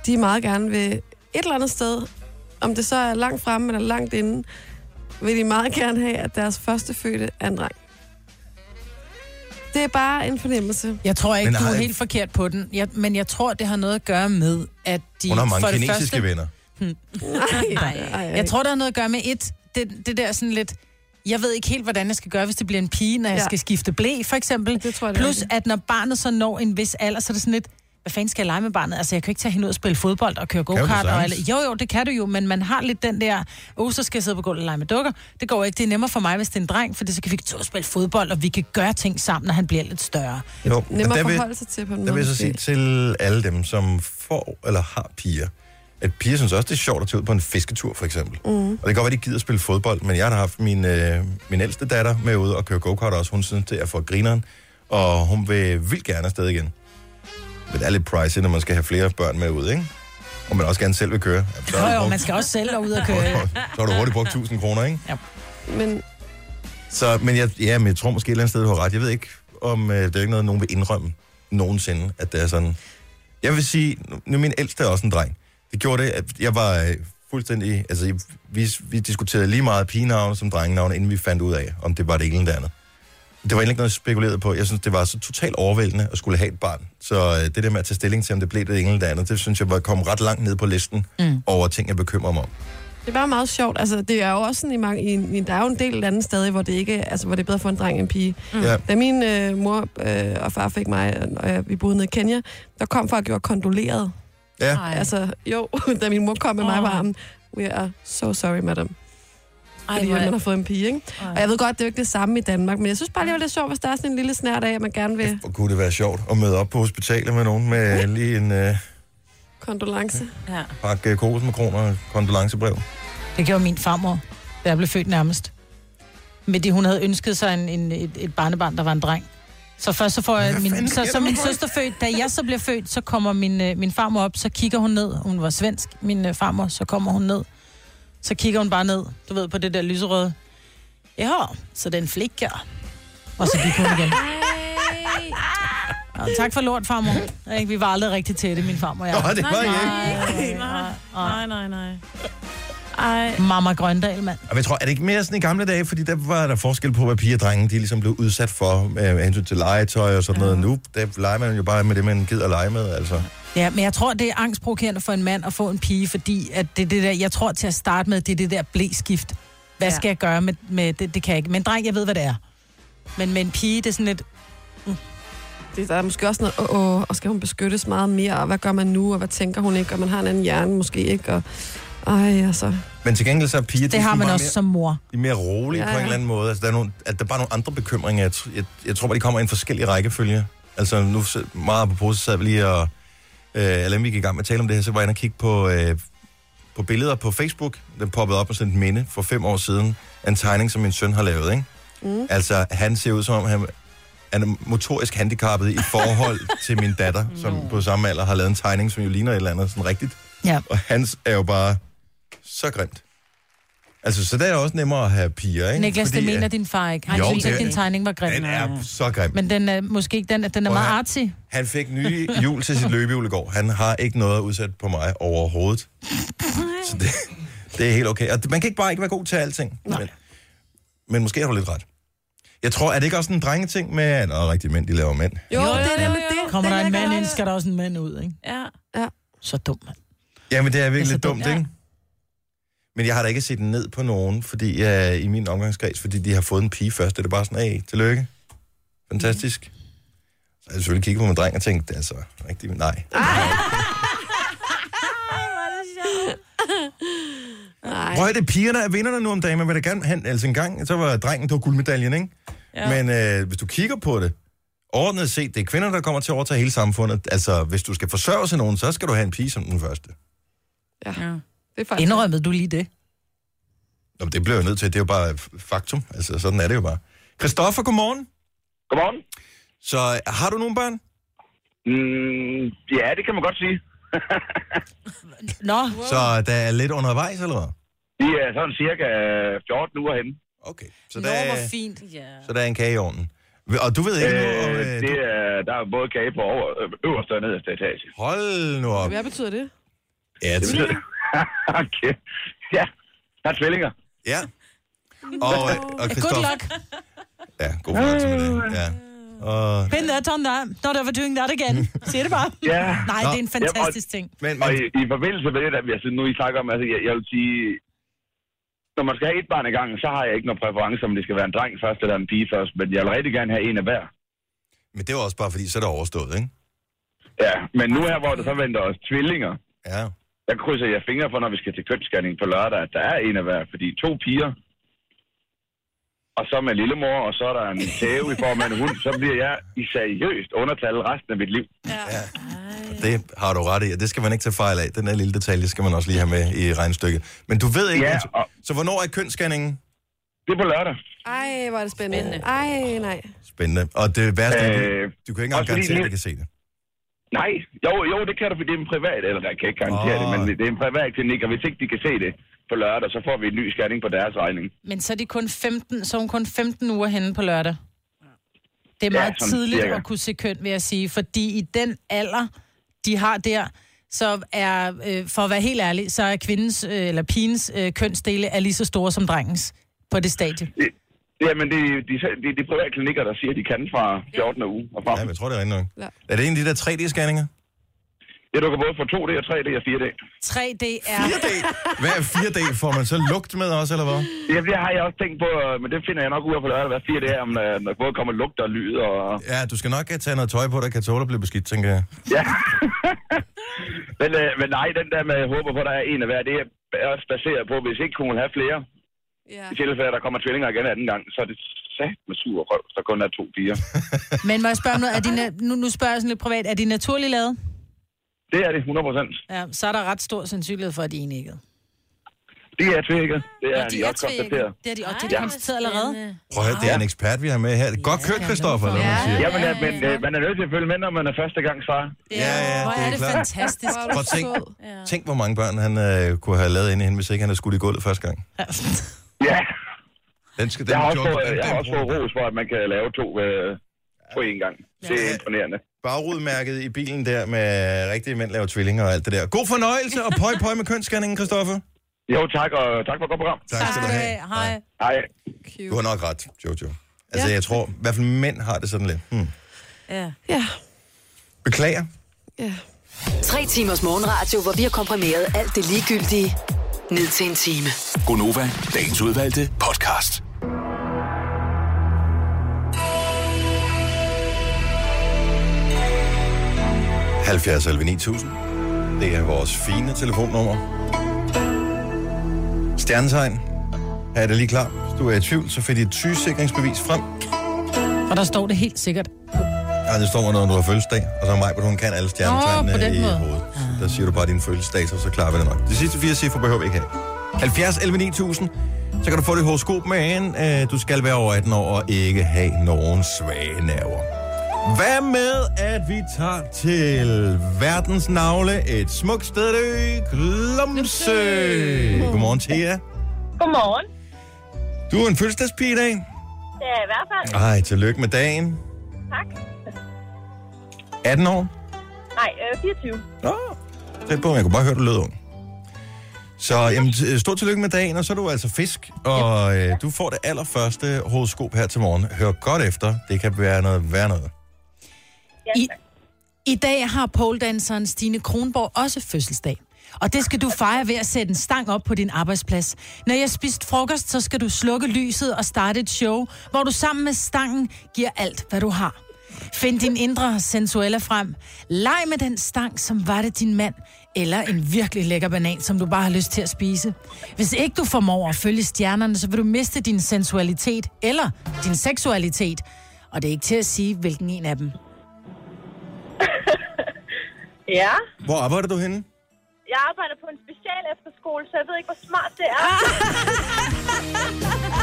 de meget gerne vil et eller andet sted, om det så er langt fremme eller langt inde, vil de meget gerne have, at deres første fødte er en dreng. Det er bare en fornemmelse. Jeg tror ikke, Men men, du er har- helt forkert på den. Jeg, men jeg tror, det har noget at gøre med, at de... Hun har mange for det kinesiske første... første, venner. Nej, nej, Jeg tror, det har noget at gøre med et, det, det der sådan lidt, jeg ved ikke helt, hvordan jeg skal gøre, hvis det bliver en pige, når jeg Ja. skal skifte blæ, for eksempel. Det tror jeg, det er Plus, rigtigt. at når barnet så når en vis alder, så er det sådan lidt, hvad fanden skal jeg lege med barnet? Altså, jeg kan ikke tage hende ud og spille fodbold og køre du go-kart. Og sagtens? alle. Jo, jo, det kan du jo, men man har lidt den der, oh, så skal jeg sidde på gulvet og lege med dukker. Det går ikke, det er nemmere for mig, hvis det er en dreng, for så kan vi to spille fodbold, og vi kan gøre ting sammen, når han bliver lidt større. Jo. Nemmere der at vil, forholde sig til på en måde. der vil jeg så måske. sige til alle dem, som får eller har piger, at piger synes også, det er sjovt at tage ud på en fisketur, for eksempel. Mm. Og det kan godt være, de gider spille fodbold, men jeg har da haft min, øh, min ældste datter med ude og køre go-kart også. Hun synes, det er for grineren, og hun vil vildt gerne afsted igen. Men det er lidt pricey, når man skal have flere børn med ud, ikke? Og man også gerne selv vil køre. Ja, så, Jo, har du jo, brugt- man skal også selv ud og køre. så har du hurtigt brugt 1000 kroner, ikke? Men Så, men jeg, ja, men jeg tror måske et eller andet sted, du har ret. Jeg ved ikke, om øh, det er ikke noget, nogen vil indrømme nogensinde, at det er sådan. Jeg vil sige, nu- nu min ældste er også en dreng. Det gjorde det, at jeg var øh, fuldstændig... Altså, jeg- vi, vi diskuterede lige meget pigenavne som drengenavne, inden vi fandt ud af, om det var det ene eller det andet. Det var egentlig ikke noget, jeg spekulerede på. Jeg synes, det var så totalt overvældende at skulle have et barn. Så øh, det der med at tage stilling til, om det blev det ene eller det andet, det synes jeg var kom ret langt ned på listen mm. over ting, jeg bekymrer mig om. Det var meget sjovt. Altså, det er jo også sådan i mange... I, en- der er jo en del lande stadig, hvor det, ikke, altså, hvor det er bedre for en dreng end en pige. Mm. Ja. Da min øh, mor øh, og far fik mig, og- og jeg, vi boede nede i Kenya, der kom folk jo og kondolerede. ja. Ej. Altså, jo, da min mor kom med mig Åh. på armen, we are so sorry, madam. Ej, Fordi hvor man er har fået en pige, ikke? Og jeg ved godt, det er jo ikke det samme i Danmark, men jeg synes bare, det var lidt sjovt, hvis der er sådan en lille snært af, at man gerne Altså- vil Hvor kunne det være sjovt at møde op på hospitalet med nogen med lige en øh, kondolence. ja. pakke kokosmakroner og kondolencebrev? Det gjorde min farmor, da jeg blev født nærmest. Med det, hun havde ønsket sig en, en, et, et barnebarn, der var en dreng. Så først så får jeg Hvad min, fanden så, sker der så min for mig? søster født. Da jeg så bliver født, så kommer min, øh, min farmor op, så kigger hun ned. Hun var svensk, min øh, farmor, så kommer hun ned. Så kigger hun bare ned, du ved, på det der lyserøde. Ja, så den flikker. Og så gik hun igen. Og tak for lort, farmor. Ikke, Vi var aldrig rigtig tætte, min farmor og jeg. Nå, det var jeg ikke. Nej, nej, nej, nej, nej. Ej, Mamma Grøndal, mand. Og jeg tror, er det ikke mere sådan i gamle dage, fordi der var der forskel på, hvad piger og drenge, de ligesom blev udsat for øh, med hensyn til legetøj og sådan noget. Nu, der leger man jo bare med det, man gider at lege med, altså. Ja, men jeg tror, det er angstprovokerende for en mand at få en pige, fordi at det, er det der, jeg tror til at starte med, det er det der blæskift. Hvad Ja. ja. skal jeg gøre med, med det? Det kan jeg ikke. Men dreng, jeg ved, hvad det er. Men med en pige, det er sådan lidt... Det, der er måske også noget, åh, åh, og skal hun beskyttes meget mere, og hvad gør man nu, og hvad tænker hun ikke, og man har en anden hjerne måske ikke, og ej, altså. Men til gengæld så er piger, Det har man også mere, som mor. de er mere rolige ja, Ja, ja. på en ja. eller anden måde. Altså, der er, nogle, at der er bare nogle andre bekymringer. Jeg, tr- jeg, jeg tror bare, de kommer i en forskellig rækkefølge. Altså nu, s- meget på så sad vi lige og... Øh, eller inden vi gik i gang med at tale om det her, så var jeg inde og kigge på, øh, på billeder på Facebook. Den poppede op med sådan et minde for fem år siden. af En tegning, som min søn har lavet, ikke? Mm. Altså, han ser ud som om, han han er motorisk handicappet i forhold til min datter, som på samme alder har lavet en tegning, som jo ligner et eller andet sådan rigtigt. Ja. Og hans er jo bare så grimt. Altså, så der er også nemmere at have piger, ikke? Niklas, det Fordi, mener øh, din far ikke. Han Jo, synes det- ikke, din tegning var grim. Den er så grim. Men den er måske ikke den, den er meget her. artsy. Han fik nye hjul til sit løbehjul i går. Han har ikke noget udsat på mig overhovedet. Så det, det er helt okay. Og man kan ikke bare ikke være god til alting. Men, men måske har du lidt ret. Jeg tror, er det ikke også en drengeting med, at oh, rigtige mænd, de laver mænd? Jo, Jo, det er jo, nemlig jo. det. Kommer Den der en er mand godt. ind, skal der også en mand ud, ikke? Ja. Så dum, mand. Jamen, det er virkelig så lidt dumt, dumt. ikke? Men jeg har da ikke set ned på nogen fordi uh, i min omgangskreds, fordi de har fået en pige først. Det er bare sådan, hey, tillykke. Fantastisk. Så har jeg selvfølgelig kigget på min dreng og tænkt, det er så rigtigt, nej. Nej. Prøv at høre, det er pigerne der er vinderne nu om dagen. Man vil da gerne hen, altså en gang, så var drengen, det var guldmedaljen, ikke? Ja. Men øh, hvis du kigger på det, overordnet set, det er kvinder, der kommer til at overtage hele samfundet. Altså, hvis du skal forsørge sig nogen, så skal du have en pige som den første. ja. Det er faktisk... Indrømmede du lige det? Nå, men det bliver jeg nødt til, det er jo bare f- faktum. Altså, sådan er det jo bare. Christoffer, godmorgen. Godmorgen. Så øh, har du nogle børn? Mm, ja, det kan man godt sige. Nå, Så øh, der er lidt undervejs, eller hvad? De er sådan cirka 14 uger henne. Okay, så Nå der, er, hvor fint. ja. så der er en kage i ovnen. Og du ved ikke noget om... Øh, Øh, det du... er, der er både kage på over, øh, øverste og nederste etage. Hold nu op. Hvad betyder det? Ja, Det det, betyder- okay. Ja, der er tvillinger. ja. Og, øh, og Good Christoffer... luck. Ja, god fornøjelse med Øh. det. Ja. Og, Been there, done that. Not ever doing that again. Siger det bare. Ja. Nej, det er en fantastisk ting. men, Og men, i, i forbindelse med det, der vi altså, nu I snakker om, altså, jeg, jeg vil sige, når man skal have et barn i gangen, så har jeg ikke nogen præference, om det skal være en dreng først eller en pige først, men jeg vil rigtig gerne have en af hver. men det var også bare fordi, så er det overstået, ikke? Ja, men nu her, hvor der så venter os tvillinger, Ja. der krydser jeg fingre for, når vi skal til kønsscanning på lørdag, at der er en af hver, fordi to piger, og så med lillemor, og så er der en tæve i form af en hund, så bliver jeg i seriøst undertal resten af mit liv. Det har du ret i, og det skal man ikke tage fejl af. Den der lille detalje skal man også lige have med i regnstykket. Men du ved ikke... Ja, og- så hvornår er kønsscanningen? Det er på lørdag. Ej, hvor er det spændende. Ej, nej. Spændende. Og det værste er, øh, Øh, du, du kan ikke engang også fordi garantere, at lige- jeg kan se det. Nej, jo, jo, det kan du, for det er en privat, eller jeg kan ikke garantere Åh. det, men det er en privat klinik, og hvis ikke de kan se det på lørdag, så får vi en ny scanning på deres regning. Men så er de kun 15, så er hun kun 15 uger henne på lørdag. Det er Ja, meget ja, sådan tidligt cirka. at kunne se køn, vil jeg sige, fordi i den alder, de har der, så er, øh, for at være helt ærlig, så er kvindens øh, eller pigens øh, kønsdele er lige så store som drengens på det stadie. Det- Jamen, det er de, de, de private klinikker, der siger, at de kan fra 14. uge og frem. Ja, men jeg tror, det er rigtigt nok. Ja. Er det en af de der 3D-scanninger? Ja, du kan både få 2D og 3D og 4D. 3D er... 4D? Hvad er 4D? Får man så lugt med også, eller hvad? Ja, det har jeg også tænkt på, øh, men det finder jeg nok ud af på lørdag, hvad siger det er, om øh, når både kommer lugt og lyd og... Ja, du skal nok øh, tage noget tøj på, der kan tåle at blive beskidt, tænker jeg. Ja. men, øh, men nej, den der med, jeg håber på, der er en af hver, det er også baseret på, hvis ikke hun vil have flere, Ja. i tilfælde, der kommer tvillinger igen anden gang, så er det sat med sur røv, så kun er to piger. Men må jeg spørge om noget? Er de na- nu, nu spørger jeg sådan lidt privat. Er de naturligt lavet? Det er det, 100 procent. Ja, så er der ret stor sandsynlighed for, at de er enægget. De er tvillinger. Det Og er de, de også konstateret. Det er de, og de er konstateret allerede. Prøv at høre, det er en ekspert, vi har med her. Godt kørt, Christoffer, eller hvad man siger. Ja, men, øh, men øh, man er nødt til at følge med, når man er første gang far. Ja, ja, Hvor det er er det klart. fantastisk. Hvor er Prøv du at tænk, sød. tænk, hvor mange børn han øh, kunne have lavet inde i hende, hvis ikke han havde skudt i gulvet første gang. Ja, Den skal, den jeg har også joke, fået, den- jeg har den også fået ros for, at man kan lave to øh, på én gang. Det er imponerende. bagrudmærket i bilen der med rigtige mænd laver tvillinger og alt det der. God fornøjelse og pøj pøj med kønsscanningen, Christoffer. Jo, tak, og tak for et godt program. Tak skal du have. Hej. Hej. Du har nok ret, Jojo. Altså, Ja. jeg tror, i hvert fald mænd har det sådan lidt. Hmm. Ja. Ja. Beklager. Ja. Tre timers morgenradio, hvor vi har komprimeret alt det ligegyldige ned til en time. Gonova, dagens udvalgte podcast. Mm. 70 11 9000. Det er vores fine telefonnummer. Stjernetegn. Er det lige klar? Hvis du er i tvivl, så find dit sygesikringsbevis frem. Og der står det helt sikkert. Og Nej, det står, når du har fødselsdag, og så er mig, hun kan alle Nå, på stjernetegnene den i måde. Ah. hovedet. Der siger du bare din fødselsdag, så, så klarer vi det nok. De sidste fire cifre behøver vi ikke have. 70 11 9000, så kan du få dit horoskop med en. Øh, Du skal være over 18 år og ikke have nogen svage nerver. Hvad med, at vi tager til verdens navle, et smukt sted, Glumsø. Godmorgen, Thea. Godmorgen. Du er en fødselsdagspige i dag. Det er i hvert fald. Ej, tillykke med dagen. Tak. 18 år. Nej, øh, 24. Nå, tæt på. Jeg kunne bare høre, du lød ung. Så jamen, t- øh, stort tillykke med dagen, og så er du altså fisk, og øh, du får det allerførste horoskop her til morgen. Hør godt efter, det kan være noget værd noget. I, I dag har poledanseren Stine Kronborg også fødselsdag. Og det skal du fejre ved at sætte en stang op på din arbejdsplads. Når jeg spist frokost, så skal du slukke lyset og starte et show, hvor du sammen med stangen giver alt, hvad du har. Find din indre sensuelle frem. Leg med den stang, som var det din mand. Eller en virkelig lækker banan, som du bare har lyst til at spise. Hvis ikke du formår at følge stjernerne, så vil du miste din sensualitet eller din seksualitet. Og det er ikke til at sige, hvilken en af dem. Ja. Hvor arbejder du henne? Jeg arbejder på en special efterskole, så jeg ved ikke, hvor smart det er.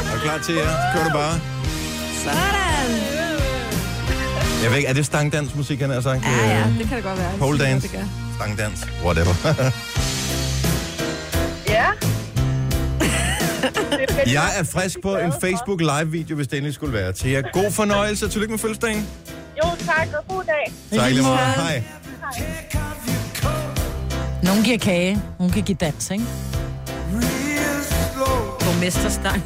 Er du klar til jer? Kør du bare. Sådan. Jeg ved ikke, er det stangdansmusik, han har sagt? Ja, ja, Øh, det kan det godt være. Jeg Pole siger, dance, Det gør. stangdans, whatever. Ja. jeg er frisk på en Facebook live-video, hvis det endelig skulle være. Til jer god fornøjelse, og tillykke med fødselsdagen. Jo, tak, og god dag. Tak i lige måde. Hej. Nogen giver kage, nogen kan give dans, ikke? Borgmesterstang.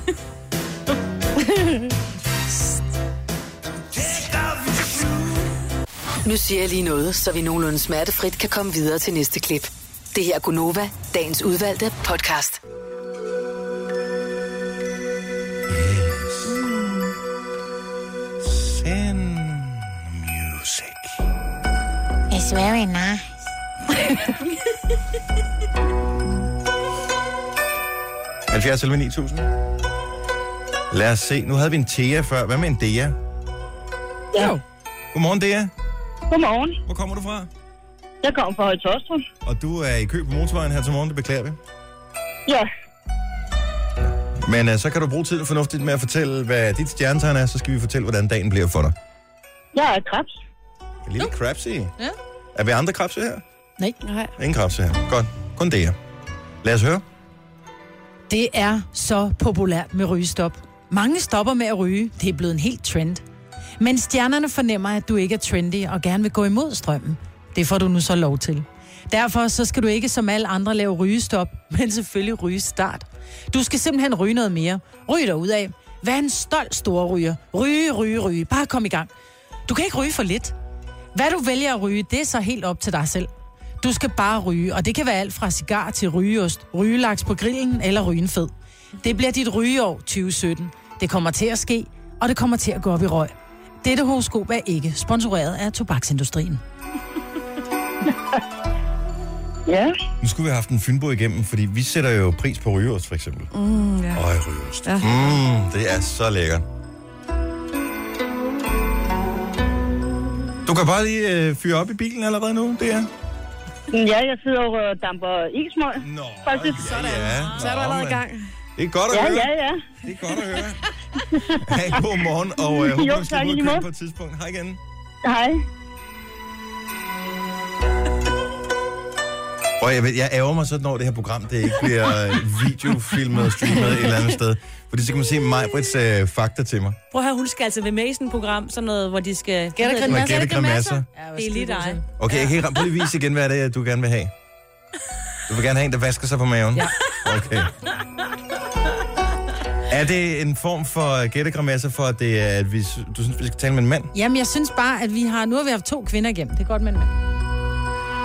Nu siger jeg lige noget, så vi nogenlunde smertefrit kan komme videre til næste klip. Det her er Gunova, dagens udvalgte podcast. Send music. It's very nice. Mm. 70 eller 9000. Lad os se. Nu havde vi en Thea før. Hvad med en Dea? Ja. Godmorgen, Dea. Godmorgen. Hvor kommer du fra? Jeg kommer fra Højtostrup. Og du er i kø på motorvejen her til morgen. Det beklager vi. Ja. Men uh, så kan du bruge tiden fornuftigt med at fortælle, hvad dit stjernetegn er. Så skal vi fortælle, hvordan dagen bliver for dig. Jeg er krebs. En lille krabse Ja. Ja. Er vi andre krabse her? Nej. Ingen krabse her. Godt. Kun Dea. Lad os høre. Det er så populært med rygestop. Mange stopper med at ryge. Det er blevet en helt trend. Men stjernerne fornemmer, at du ikke er trendy og gerne vil gå imod strømmen. Det får du nu så lov til. Derfor så skal du ikke som alle andre lave rygestop, men selvfølgelig rygestart. Du skal simpelthen ryge noget mere. Ryg dig ud af. Vær en stolt stor ryger. Ryge, ryge, ryge. Bare kom i gang. Du kan ikke ryge for lidt. Hvad du vælger at ryge, det er så helt op til dig selv. Du skal bare ryge, og det kan være alt fra cigar til rygeost, rygelaks på grillen eller rygen fed. Det bliver dit rygeår 2017. Det kommer til at ske, og det kommer til at gå op i røg. Dette horoskop er ikke sponsoreret af tobaksindustrien. Ja. Nu skulle vi have haft en fynbo igennem, fordi vi sætter jo pris på rygeost, for eksempel. Mm, ja. Øj, rygeost. Ja. Mm, det er så lækkert. Du kan bare lige øh, fyre op i bilen allerede nu, det er. Ja, jeg sidder og damper ismøg. Nå, Faktisk. Sådan. Ja, Så er du Nå, allerede i men gang. Det er godt at høre. ja. Det er godt at høre. hey, god morgen, og øh, håber, Jo, du tak, skal ud i og lige køre måde. på et tidspunkt. Hej igen. Hej. Og jeg, ved, jeg ærger mig sådan over det her program, det ikke bliver øh, videofilmet og streamet et eller andet sted. Fordi så kan man se mig, Brits, øh, fakta til mig. Prøv at høre, hun skal altså være med i sådan et program, sådan noget, hvor de skal... Gæt og Hvad hedder Man grimasser. gætter grimasser. det? Det er lige dig. Okay, jeg kan ikke prøv lige vise igen, hvad det er, du gerne vil have. Du vil gerne have en, der vasker sig på maven? Ja. Okay. Er det en form for gættegrammasse for, at, det er, at vi, du synes, vi skal tale med en mand? Jamen, jeg synes bare, at vi har... Nu har vi haft to kvinder igennem. Det er godt, men...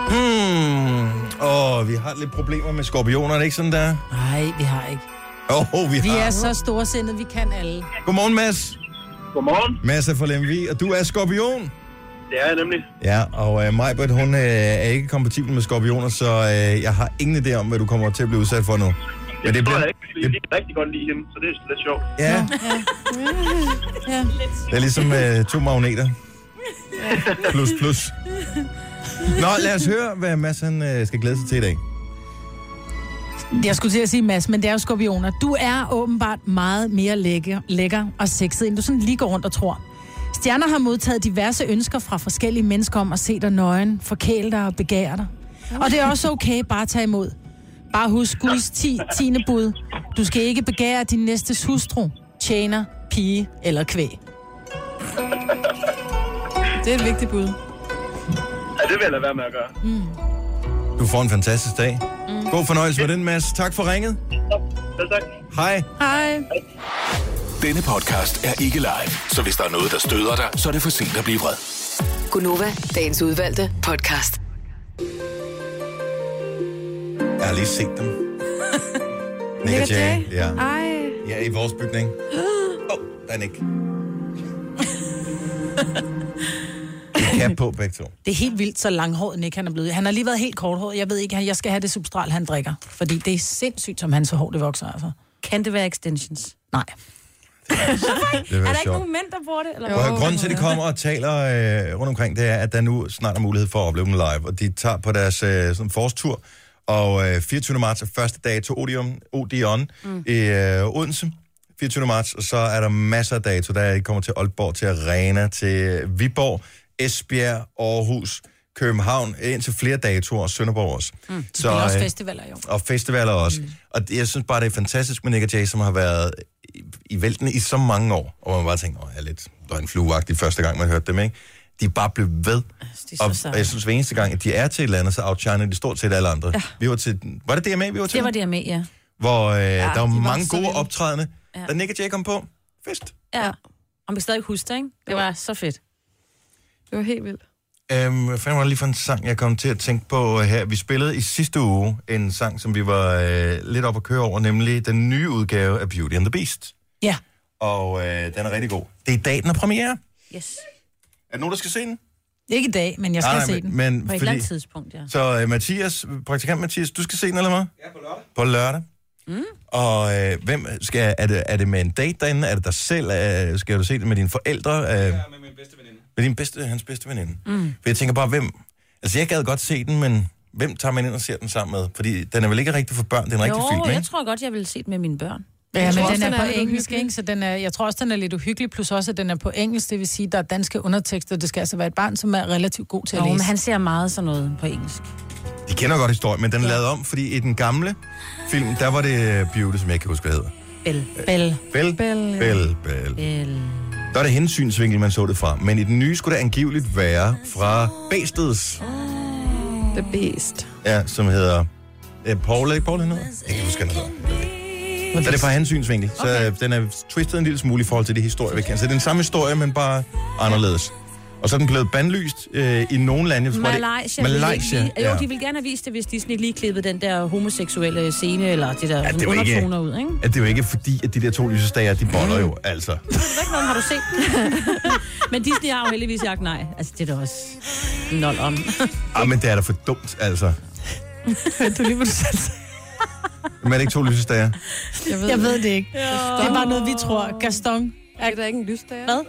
Hmm. Åh, vi har lidt problemer med skorpioner, er det ikke sådan der? Nej, vi har ikke. Åh, oh, vi Vi har. er så storsindede, vi kan alle. Godmorgen, Mads. Godmorgen. Mads er fra Lemvi, og du er skorpion. Det er jeg nemlig. Ja, og øh, Majbert, hun øh, er ikke kompatibel med skorpioner, så øh, jeg har ingen idé om, hvad du kommer til at blive udsat for nu. Men Det tror bliver- jeg ikke, fordi jeg det- kan rigtig godt lide hende, så det er lidt sjovt. Ja, Ja. det er ligesom øh, to magneter. plus, plus. Nå, lad os høre, hvad Mads han, øh, skal glæde sig til i dag. Jeg skulle til at sige Mads, men det er jo skorpioner. Du er åbenbart meget mere lækker, lækker og sexet, end du sådan lige går rundt og tror. Stjerner har modtaget diverse ønsker fra forskellige mennesker om at se dig nøgen, forkæle dig og begære dig. Og det er også okay bare at tage imod. Bare husk Guds 10, 10. bud. Du skal ikke begære din næstes hustru, tjener, pige eller kvæg. Det er et vigtigt bud. Ja, det vil jeg lade være med at gøre. Du får en fantastisk dag. God fornøjelse med den, Mads. Tak for ringet. Selv tak. Hej. Hej. Denne podcast er ikke live, så hvis der er noget, der støder dig, så er det for sent at blive vred. Gunova, dagens udvalgte podcast. Jeg har lige set dem. Nick og Jay. Ja. Ej. ja, i vores bygning. Åh, oh, der er Nick. En Cap på begge to. Det er helt vildt, så langhåret Nick han er blevet. Han har lige været helt korthåret. Jeg ved ikke, jeg skal have det substral, han drikker. Fordi det er sindssygt, som hans hår det vokser, altså. Kan det være extensions? Nej. Det Er var der ikke sjovt. nogen mænd, der bruger det? Eller? Og her, grunden til, at de kommer og taler øh, rundt omkring, det er, at der nu snart er mulighed for at opleve dem live. Og de tager på deres øh, sådan forårstur. Og øh, 24. marts er første dag til Odeon, Odeon mm. i øh, Odense. 24. marts, og så er der masser af dato. Der er- kommer til Aalborg, til Arena, til Viborg, Esbjerg, Aarhus, København, indtil flere datoer, Sønderborg også. Mm. Så, Eller øh, også festivaler, jo. og festivaler også. Mm. Og det, jeg synes bare, det er fantastisk med Nick og Jay, som har været i, i vælten i så mange år. Og man bare tænker, åh, jeg er lidt døgnflueagtig første gang, man hørte dem, ikke? De er bare blevet ved. De er Og, så seje. og jeg synes, hver eneste gang, at de er til et eller andet, så outshiner de stort set alle andre. Ja. Vi var til, var det DMA, vi var til? Det var det, jeg med, ja. Hvor øh, ja, der var, de var mange så gode vilde. optrædende. Ja. Ja. Da Nick og Jay kom på, fest. ja. Og man kan stadig huske det, ikke? Det var så fedt. Det var helt vildt. Øhm, hvad fanden var det lige for en sang, jeg kom til at tænke på her? Vi spillede i sidste uge en sang, som vi var øh, lidt op at køre over, nemlig den nye udgave af Beauty and the Beast. Ja. og øh, den er rigtig god. Det er i dag, den er premiere. Yes. Er der nogen, der skal se den? Ikke i dag, men jeg skal se den. men, På men et eller fordi... andet tidspunkt, ja. Så øh, Mathias, praktikant Mathias, du skal se den, eller hvad? Ja, på lørdag. På lørdag. Mm. Og øh, hvem skal, er, det, er det med en date derinde? Er det dig selv? Øh, skal du se det med dine forældre? Øh, ja, med min bedste veninde. Med din bedste, hans bedste veninde? Mm. For jeg tænker bare, hvem... Altså, jeg gad godt se den, men hvem tager man ind og ser den sammen med? Fordi den er vel ikke rigtig for børn, det er en rigtig film, Jo, ikke? jeg tror godt, jeg ville se det med mine børn. Ja, men tror den også, er, den på er lidt engelsk, uhyggelig. ikke? Så den er, jeg tror også, den er lidt uhyggelig, plus også, at den er på engelsk. Det vil sige, at der er danske undertekster. Det skal altså være et barn, som er relativt god til at Jo, men læse. han ser meget sådan noget på engelsk. De kender godt historien, men den er lavet om, fordi i den gamle film, der var det øh, Beauty, som jeg ikke kan huske, hvad hedder. Bell. Bell. Bell, Bell, ja. Bell, Bell. Bell. Der er det hensynsvinkel, man så det fra. Men i den nye skulle det angiveligt være fra Bæsteds, The Beast. ja, som hedder... Øh, Paul, er det ikke Paul, han hedder? Jeg kan ikke huske, han hedder. Men det er fra hans synsvinkel, så øh, den er twistet en lille smule i forhold til de historier, vi kender. Så det er den samme historie, men bare anderledes. Og så er den blevet bandlyst øh, i nogle lande. Jeg tror, det- Malaysia, Malaysia. Ville ikke lige, ja. Jo, de ville gerne have vist det, hvis Disney lige klippede den der homoseksuelle scene, eller det der ja, det var ikke- undertoner ud, ikke? At det er jo ikke fordi, at de der to lysestager, de boller jo, altså. Det ikke nogen, har du set Men Disney har jo heldigvis sagt nej. Altså, det er da også nol om. Ah, men det er da for dumt, altså. Du lige vil selv. Men er det ikke to lysestager? Jeg ved, Jeg ved det ikke. Det er bare noget, vi tror. Gaston. det er der ikke en lysdager. Hvad?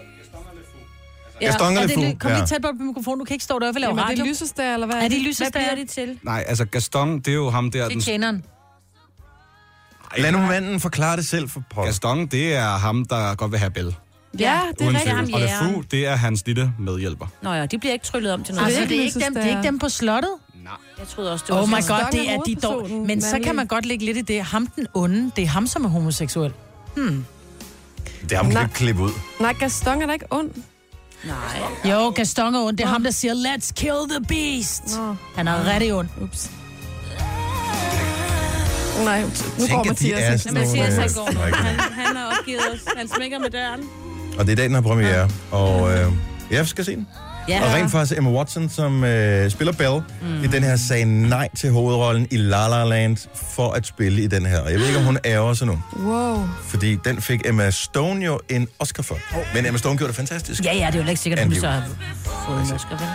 Ja. Gaston eller er det, Fou? ly- kom Ja. lige tæt på mikrofonen. Du kan ikke stå deroppe og lave Jamen, er radio. det lysestager, eller hvad? Er det Hvad lysestager? bliver det til? Nej, altså Gaston, det er jo ham der... Det Den, er tjeneren. Lad nu manden forklare det selv for pokker. Gaston, det er ham, der godt vil have Bell. Ja, det er Uden rigtigt. tvivl. ham, Og ja. Lafu, det er hans lille medhjælper. Nå ja, de bliver ikke tryllet om til noget. Altså, Altså, ikke det er ikke dem, det er ikke lysestager. dem på slottet. jeg troede også, det var Oh my sådan- god, Gaston det er er de dog. hovedpersonen, Men så Marie. kan man godt lægge lidt i det. Ham den onde, det er ham, som er homoseksuel. Det har man Nej. ikke klippe ud. Nej, Gaston er da ikke ond. Nej. Jo, Gaston er ond. Det er ham, der siger, let's kill the beast. Nå. Han er rigtig ond. Ups. Nej, nu Tænk, går at de Mathias er ikke. sådan Mathias, nogle, øh, han går. Nej, ikke. Han- han har opgivet os. Han smækker med døren. Og det er i dag, den har premiere. Og øh, jeg skal se den. Ja. Og rent faktisk Emma Watson, som øh, spiller Belle mm. i den her, sagde nej til hovedrollen i La La Land for at spille i den her. Og jeg ved ikke, om hun ærger sig nu. Wow. Fordi den fik Emma Stone jo en Oscar for. Men Emma Stone gjorde det fantastisk. Ja, ja, det er jo ikke sikkert, at hun så Angiveligt. har fået en Oscar, vel?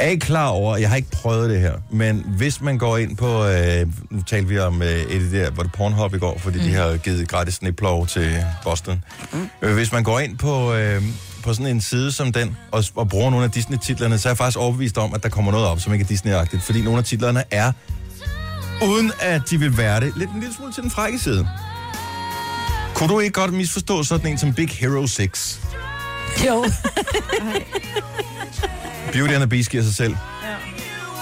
Er I klar over, jeg har ikke prøvet det her, men hvis man går ind på, øh, nu talte vi om øh, et af de der, var det Pornhub i går, fordi mm. de har givet gratis sneplov til Boston. Mm. Hvis man går ind på, øh, på på sådan en side som den, og, og bruger nogle af Disney-titlerne, så er jeg faktisk overbevist om, at der kommer noget op, som ikke er Disney-agtigt. Fordi nogle af titlerne er, uden at de vil være det, lidt en lille smule til den frække side. Kunne du ikke godt misforstå sådan en som Big Hero 6? Jo. Beauty and the Beast giver sig selv.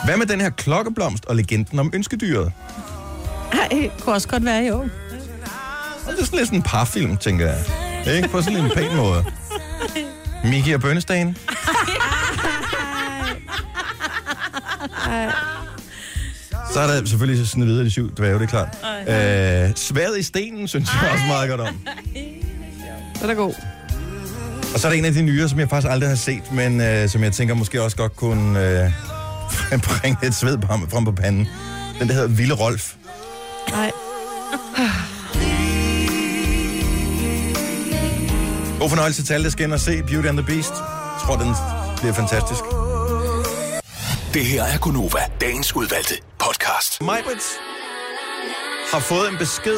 Hvad med den her klokkeblomst og legenden om ønskedyret? Ej, kunne også godt være, jo. Og Det er sådan lidt sådan en parfilm, tænker jeg. Ikke på sådan en pæn måde. Miki og Bønnestagen. Ej. Så er der selvfølgelig sådan videre de syv dværge, det er klart. Ej. Øh, sværet i stenen, synes jeg også meget godt om. Den er god. Og så er der en af de nyere, som jeg faktisk aldrig har set, men øh, som jeg tænker måske også godt kunne øh, bringe lidt sved på ham, frem på panden. Den der hedder Ville Rolf. Nej. God fornøjelse til alle, der skal ind og se Beauty and the Beast. Jeg tror, den bliver fantastisk. Det her er Gunova, dagens udvalgte podcast. Majbrit har fået en besked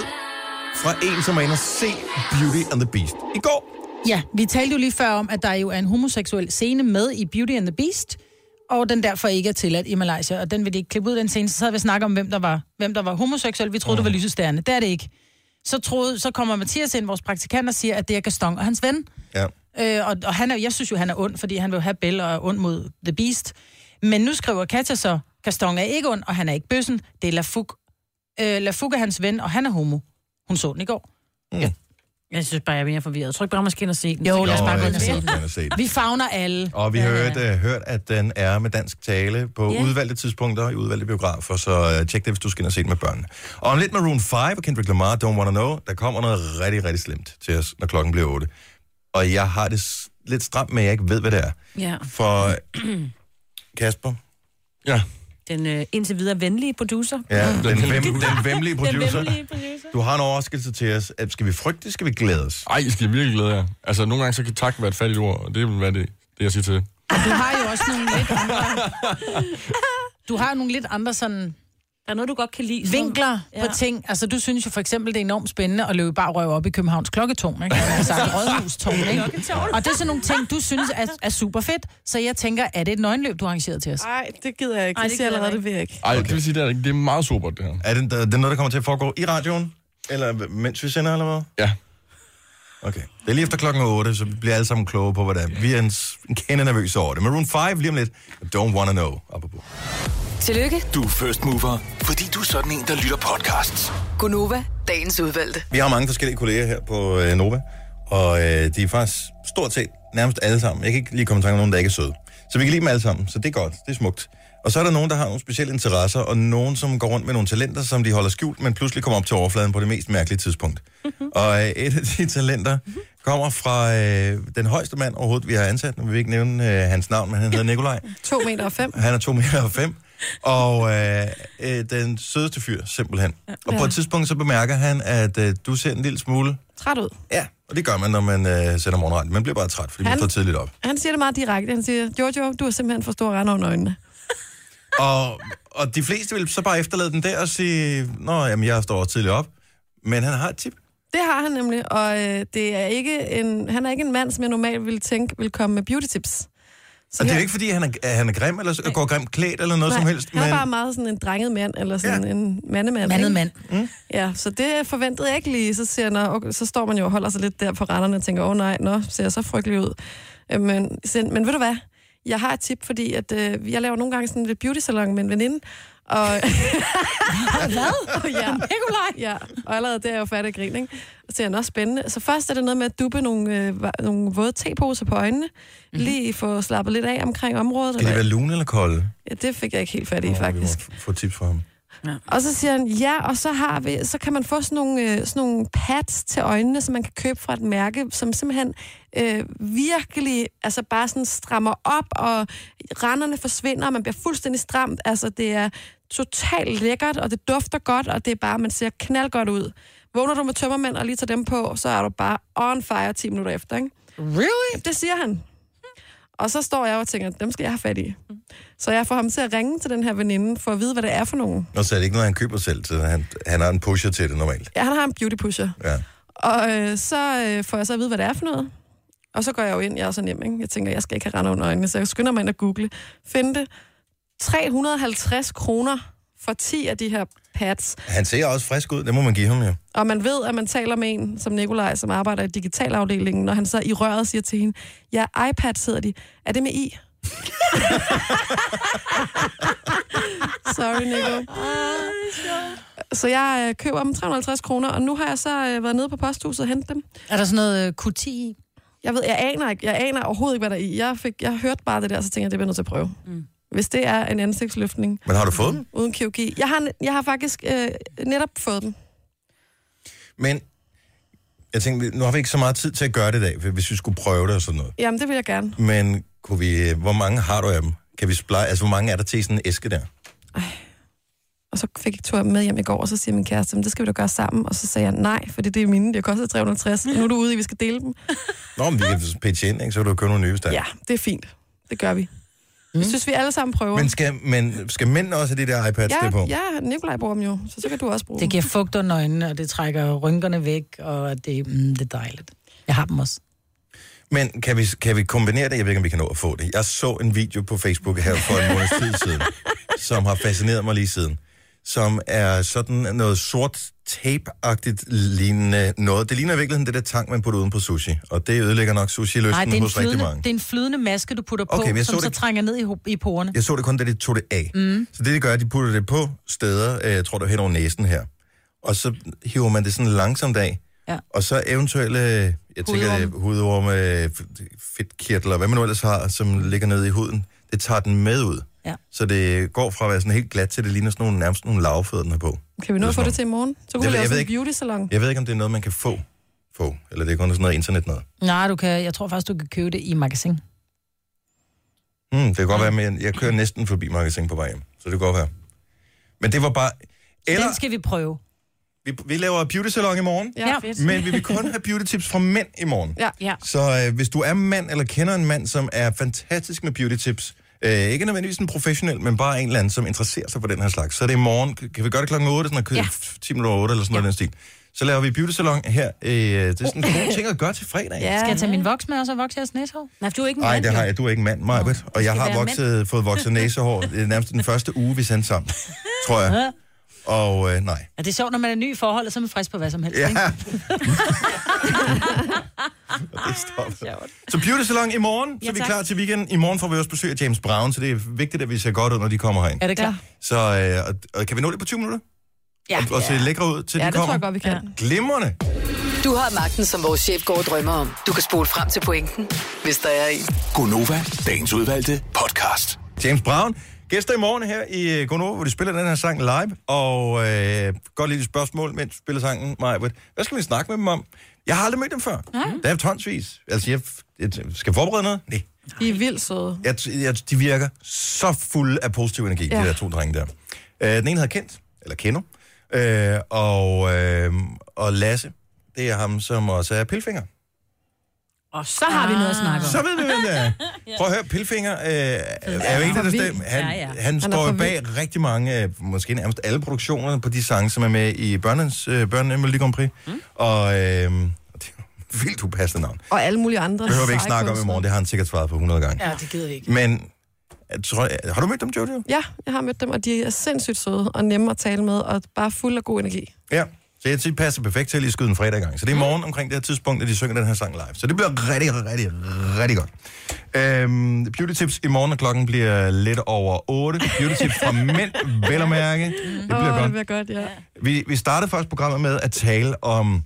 fra en, som er inde og se Beauty and the Beast. I går. Ja, vi talte jo lige før om, at der jo er en homoseksuel scene med i Beauty and the Beast, og den derfor ikke er tilladt i Malaysia, og den vil de ikke klippe ud den scene. Så havde vi snakket om, hvem der var, hvem der var homoseksuel. Vi troede, det var lysestærne. Det er det ikke. Så, troede, så kommer Mathias ind, vores praktikant, og siger, at det er Gaston og hans ven. Ja. Øh, og, og han er, jeg synes jo, han er ond, fordi han vil jo have Belle og er ond mod The Beast. Men nu skriver Katja så, Gaston er ikke ond, og han er ikke bøssen. Det er Lafuk. Øh, Lafuk er hans ven, og han er homo. Hun så den i går. Mm. Ja. Jeg synes bare, jeg er mere forvirret. Tryk bare, man skal ind og se den. Jo, lad os Jo, bare gå jeg ind og synes se også, man har set den. den. Vi favner alle. Og vi har hørt, uh, hørt, at den er med dansk tale på Ja. yeah. udvalgte tidspunkter i udvalgte biografer, så uh, tjek det, hvis du skal ind og se den med børnene. Og om lidt Maroon 5 og Kendrick Lamar, Don't Wanna Know, der kommer noget rigtig, rigtig slemt til os, når klokken bliver 8. Og jeg har det s- lidt stramt med, at jeg ikke ved, hvad det er. Ja. For Kasper, ja. Den øh, indtil videre venlige producer. Ja, den, venlige vem, den vemmelige Den producer. vemmelige producer. Du har en overraskelse til os. At Skal vi frygte, det, skal vi glæde os? Ej, I skal virkelig glæde jer. Altså, nogle gange så kan tak være et fattigt ord, og det vil være det, det jeg siger til. Og du har jo også nogle lidt andre... Du har jo nogle lidt andre sådan... Der er noget, du godt kan lide. Vinkler Som- ja. på Ja. ting. Altså, du synes jo for eksempel, det er enormt spændende at løbe bare røv op i Københavns klokketårn, ikke? Altså, rådhustårn, ikke? Klokketårn. Og det er sådan nogle ting, du synes er, er super fedt. Så jeg tænker, er det et nøgenløb, du har arrangeret til os? Nej, det gider jeg ikke. Ej, Jeg det siger gider allerede, jeg det vil jeg ikke. Ej, okay. det vil sige, det er, ikke- det er meget sobert, det her. Er det, det er noget, der kommer til at foregå i radioen? Eller mens vi sender, eller hvad? Ja. Okay. Det er lige efter klokken 8, så vi bliver alle sammen kloge på, hvad det er. Vi er en, s- en kende nervøse over det. Maroon 5 lige om lidt. Don't wanna know. Apropos. Tillykke, Du er first mover, fordi du er sådan en, der lytter podcasts. Gunova, dagens udvalgte. Vi har mange forskellige kolleger her på øh, Nova, og øh, de er faktisk stort set nærmest alle sammen. Jeg kan ikke lige komme i tanke om nogen, der ikke er søde. Så vi kan lide dem alle sammen, så det er godt, det er smukt. Og så er der nogen, der har nogle specielle interesser, og nogen, som går rundt med nogle talenter, som de holder skjult, men pludselig kommer op til overfladen på det mest mærkelige tidspunkt. og øh, et af de talenter kommer fra øh, den højeste mand overhovedet, vi har ansat. Nu vil vi ikke nævne øh, hans navn, men han hedder Nikolaj. 2 meter og 5. Han er 2 meter og 5. Og øh, øh, den sødeste fyr, simpelthen. Og på Ja. et tidspunkt så bemærker han, at øh, du ser en lille smule... Træt ud. Ja. Og det gør man, når man øh, sender morgenradio. Man bliver bare træt, fordi man Han- står tidligt op. Han siger det meget direkte. Han siger, Jojo, du har simpelthen for stor rand under øjnene. Og, og de fleste vil så bare efterlade den der og sige, Nå, jamen, jeg står også tidligt op. Men han har et tip. Det har han nemlig, og øh, det er ikke en, han er ikke en mand, som jeg normalt ville tænke ville komme med beauty tips. Og det er her- jo ikke, fordi han er, er han er grim, eller så- går grimt klædt, eller noget Nej, som helst. Han er Men bare meget sådan en drenget mand, eller sådan ja. en mandemand. Mandet ikke? mand. Mm. Ja, så det forventede jeg ikke lige. Så, siger jeg, nå, okay, så står man jo og holder sig lidt der på renderne og tænker, åh oh, nej, nå, ser jeg så frygtelig ud. Øh, Men, så- men ved du hvad? Jeg har et tip, fordi at, øh, jeg laver nogle gange sådan lidt beauty salon med en veninde. Og... Hvad? Og ja. Nikolaj? Ja, og allerede der er jeg jo færdig at grine, ikke? Og så er også spændende. Så først er det noget med at duppe nogle, øh, va- nogle våde teposer på øjnene. Mhm. Mm-hmm. Lige få slappet lidt af omkring området. skal de være eller- lune eller kolde? ja, det fik jeg ikke helt fat i, Nå, vi må faktisk. f- få et tips fra ham. Og så siger han, ja, og så, har vi, så kan man få sådan nogle, øh, sådan nogle pads til øjnene, som man kan købe fra et mærke, som simpelthen øh, virkelig altså bare sådan strammer op, og renderne forsvinder, og man bliver fuldstændig stramt. Altså, det er totalt lækkert, og det dufter godt, og det er bare, man ser knald godt ud. Vågner du med tømmermænd og lige tager dem på, så er du bare on fire 10 minutter efter, ikke? Really? Det siger han. Og så står jeg og tænker, dem skal jeg have fat i. Så jeg får ham til at ringe til den her veninde, for at vide, hvad det er for nogen. Og så er det ikke noget, han køber selv, så han, han har en pusher til det normalt. Ja, han har en beauty pusher. Ja. Og øh, så øh, får jeg så at vide, hvad det er for noget. Og så går jeg jo ind, jeg er så nem, ikke? Jeg tænker, jeg skal ikke have rende under øjnene, så jeg skynder mig ind og google. Finde det. 350 kroner for 10 af de her pads. Han ser også frisk ud, det må man give ham jo. Og man ved, at man taler med en som Nikolaj, som arbejder i digitalafdelingen, når han så i røret siger til hende, ja, iPads hedder de. Er det med i? Sorry, Nico. Så jeg øh, køber dem 350 kroner, og nu har jeg så øh, været nede på posthuset og hentet dem. Er der sådan noget øh, Q10 i? Jeg ved, jeg aner, ikke, jeg aner overhovedet ikke, hvad der er i. Jeg, fik, jeg hørte bare det der, så tænkte jeg, det bliver jeg nødt til at prøve. Mm. Hvis det er en ansigtsløftning. Men har du fået dem? Uden kirurgi. Jeg har, jeg har faktisk øh, netop fået dem. Men jeg tænkte, nu har vi ikke så meget tid til at gøre det i dag, hvis vi skulle prøve det og sådan noget. Jamen, det vil jeg gerne. Men kunne vi, øh, hvor mange har du af dem? Kan vi splej, altså, hvor mange er der til i sådan en æske der? Og så fik jeg tog med hjem i går, og så siger min kæreste, "Men det skal vi da gøre sammen. Og så sagde jeg nej, fordi det er mine, det koster 360. Mhm. Nu er du ude i, vi skal dele dem. Nå, men vi kan pitche ind, ikke? så kan du købe nogle nye, hvis der er. Ja, det er fint. Det gør vi. Mm. Jeg synes, vi alle sammen prøver. Mhm. Men skal, men skal mænd også have de der iPads ja, der på? ja, Nikolaj bruger dem jo, så, så kan du også bruge Det dem. giver fugt under øjnene, og det trækker rynkerne væk, og det, mm, det er dejligt. Jeg har dem også. Men kan vi, kan vi kombinere det? Jeg ved ikke, om vi kan nå at få det. Jeg så en video på Facebook her for en måneds tid siden, som har fascineret mig lige siden. Som er sådan noget sort tape-agtigt lignende noget. Det ligner i virkeligheden det der tang, man putter uden på sushi. Og det ødelægger nok Nej, det er, sushi-lysten en hos rigtig flydende, mange. det er en flydende maske, du putter Okay, okay, men på, jeg som så så det- trænger ned i, ho- i porerne. Jeg så det kun, da de tog det af. Mm. Så det, de gør, de putter det på steder, øh, jeg tror, det var hen over næsen her. Og så hiver man det sådan langsomt af. Ja. Og så eventuelle, jeg tænker, det er hudorme, øh, f- fedtkirtler, hvad man nu ellers har, som ligger nede i huden, det tager den med ud. Ja. Så det går fra at være sådan helt glat til, det ligner sådan nogle, nærmest nogle lavfødder, den har på. Kan vi nå at få sådan det til i morgen? Så Jeg kunne vi ved- jeg lave ved sådan en ikke- beauty-salon. Jeg ved ikke, om det er noget, man kan få, få eller det er kun sådan noget internet noget. Nej, du kan, jeg tror faktisk, du kan købe det i magasin. Hmm, det kan godt være, men jeg kører næsten forbi magasin på vej hjem, så det kan godt være. Men det var bare... Eller, Den skal vi prøve. vi, vi laver beauty salon i morgen. Ja, Ja. fedt. Men vi vil kun have beauty tips fra mænd i morgen. Ja. ja. Så øh, hvis du er mand eller kender en mand, som er fantastisk med beauty tips, øh, ikke nødvendigvis en professionel, men bare en eller anden, som interesserer sig for den her slags, så er det i morgen. Kan vi gøre det klokken 8, sådan noget, Ja. ja. 10 minutter over 8 eller sådan noget ja. den stil. Så laver vi beauty salon her. Øh, det er sådan en god ting at gøre til fredag. Ja. Skal jeg tage min voks med, og så vokse jeres næshår? Nej, for du er ikke Nej, det har jeg. Du er ikke mand, Majbet. Og jeg skal har være vokset, fået vokset næsehår øh, nærmest den første uge, vi sendte sammen, tror jeg. Ja. Og øh, nej. Og det er sjovt, når man er ny i forhold, og så er man frisk på hvad som helst. Ja. Ikke? Så Beauty Salon i morgen, så Ja, vi er tak. klar til weekenden. I morgen får vi også besøg af James Brown, så det er vigtigt, at vi ser godt ud, når de kommer herind. Er det klart? Så øh, og, og kan vi nå det på 20 minutter? Ja. Og, og se lækre ud, til Ja, de det tror kommer? jeg godt, vi kan. Ja. Glimrende! Du har magten, som vores chef går og drømmer om. Du kan spole frem til pointen, hvis der er en. Gonova, dagens udvalgte podcast. James Brown, gæster i morgen her i øh, Gonova, hvor de spiller den her sang live. Og øh, godt lille spørgsmål, mens vi spiller sangen, Maja. Hvad skal vi snakke med dem om? Jeg har aldrig mødt dem før. Nej. Der er tonsvis. Altså, jeg, jeg skal jeg forberede noget? Nej. De er vildt søde. Jeg, jeg, de virker så fulde af positiv energi, ja. Ja. de der to drenge der. Øh, den ene hedder Kent, eller Kendo, øh, og, øh, og Lasse, det er ham, som også er pilfinger. Og så har vi noget at snakke om. Så ved vi, hvem det er. Prøv at høre, Pilfinger øh, er jo en af For der vild. stemmer. Han, Ja, ja. han, Han er står for jo bag rigtig mange, øh, måske nærmest alle produktionerne på de sange, som er med i børnens, øh, børnene Melodi Grand Prix. Mm. Og øh, det er jo et vildt upassende navn. Og alle mulige andre. Det behøver vi ikke snakke om i sejkunstnere. morgen, det har han sikkert svaret på 100 gange. Ja, det gider vi ikke. Men jeg tror, har du mødt dem, Jojo? Ja, jeg har mødt dem, og de er sindssygt søde og nemme at tale med, og bare fuld af god energi. Ja. Så jeg tænkte, det passer perfekt til at lige skyde en fredag gang. Så det er i morgen omkring det her tidspunkt, at de synger den her sang live. Så det bliver rigtig, rigtig, rigtig godt. Øhm, beauty tips i morgen, og klokken bliver lidt over 8. Beauty tips fra mænd, vel at mærke. Det bliver Åh, godt. det bliver godt, ja. Vi, vi startede faktisk programmet med at tale om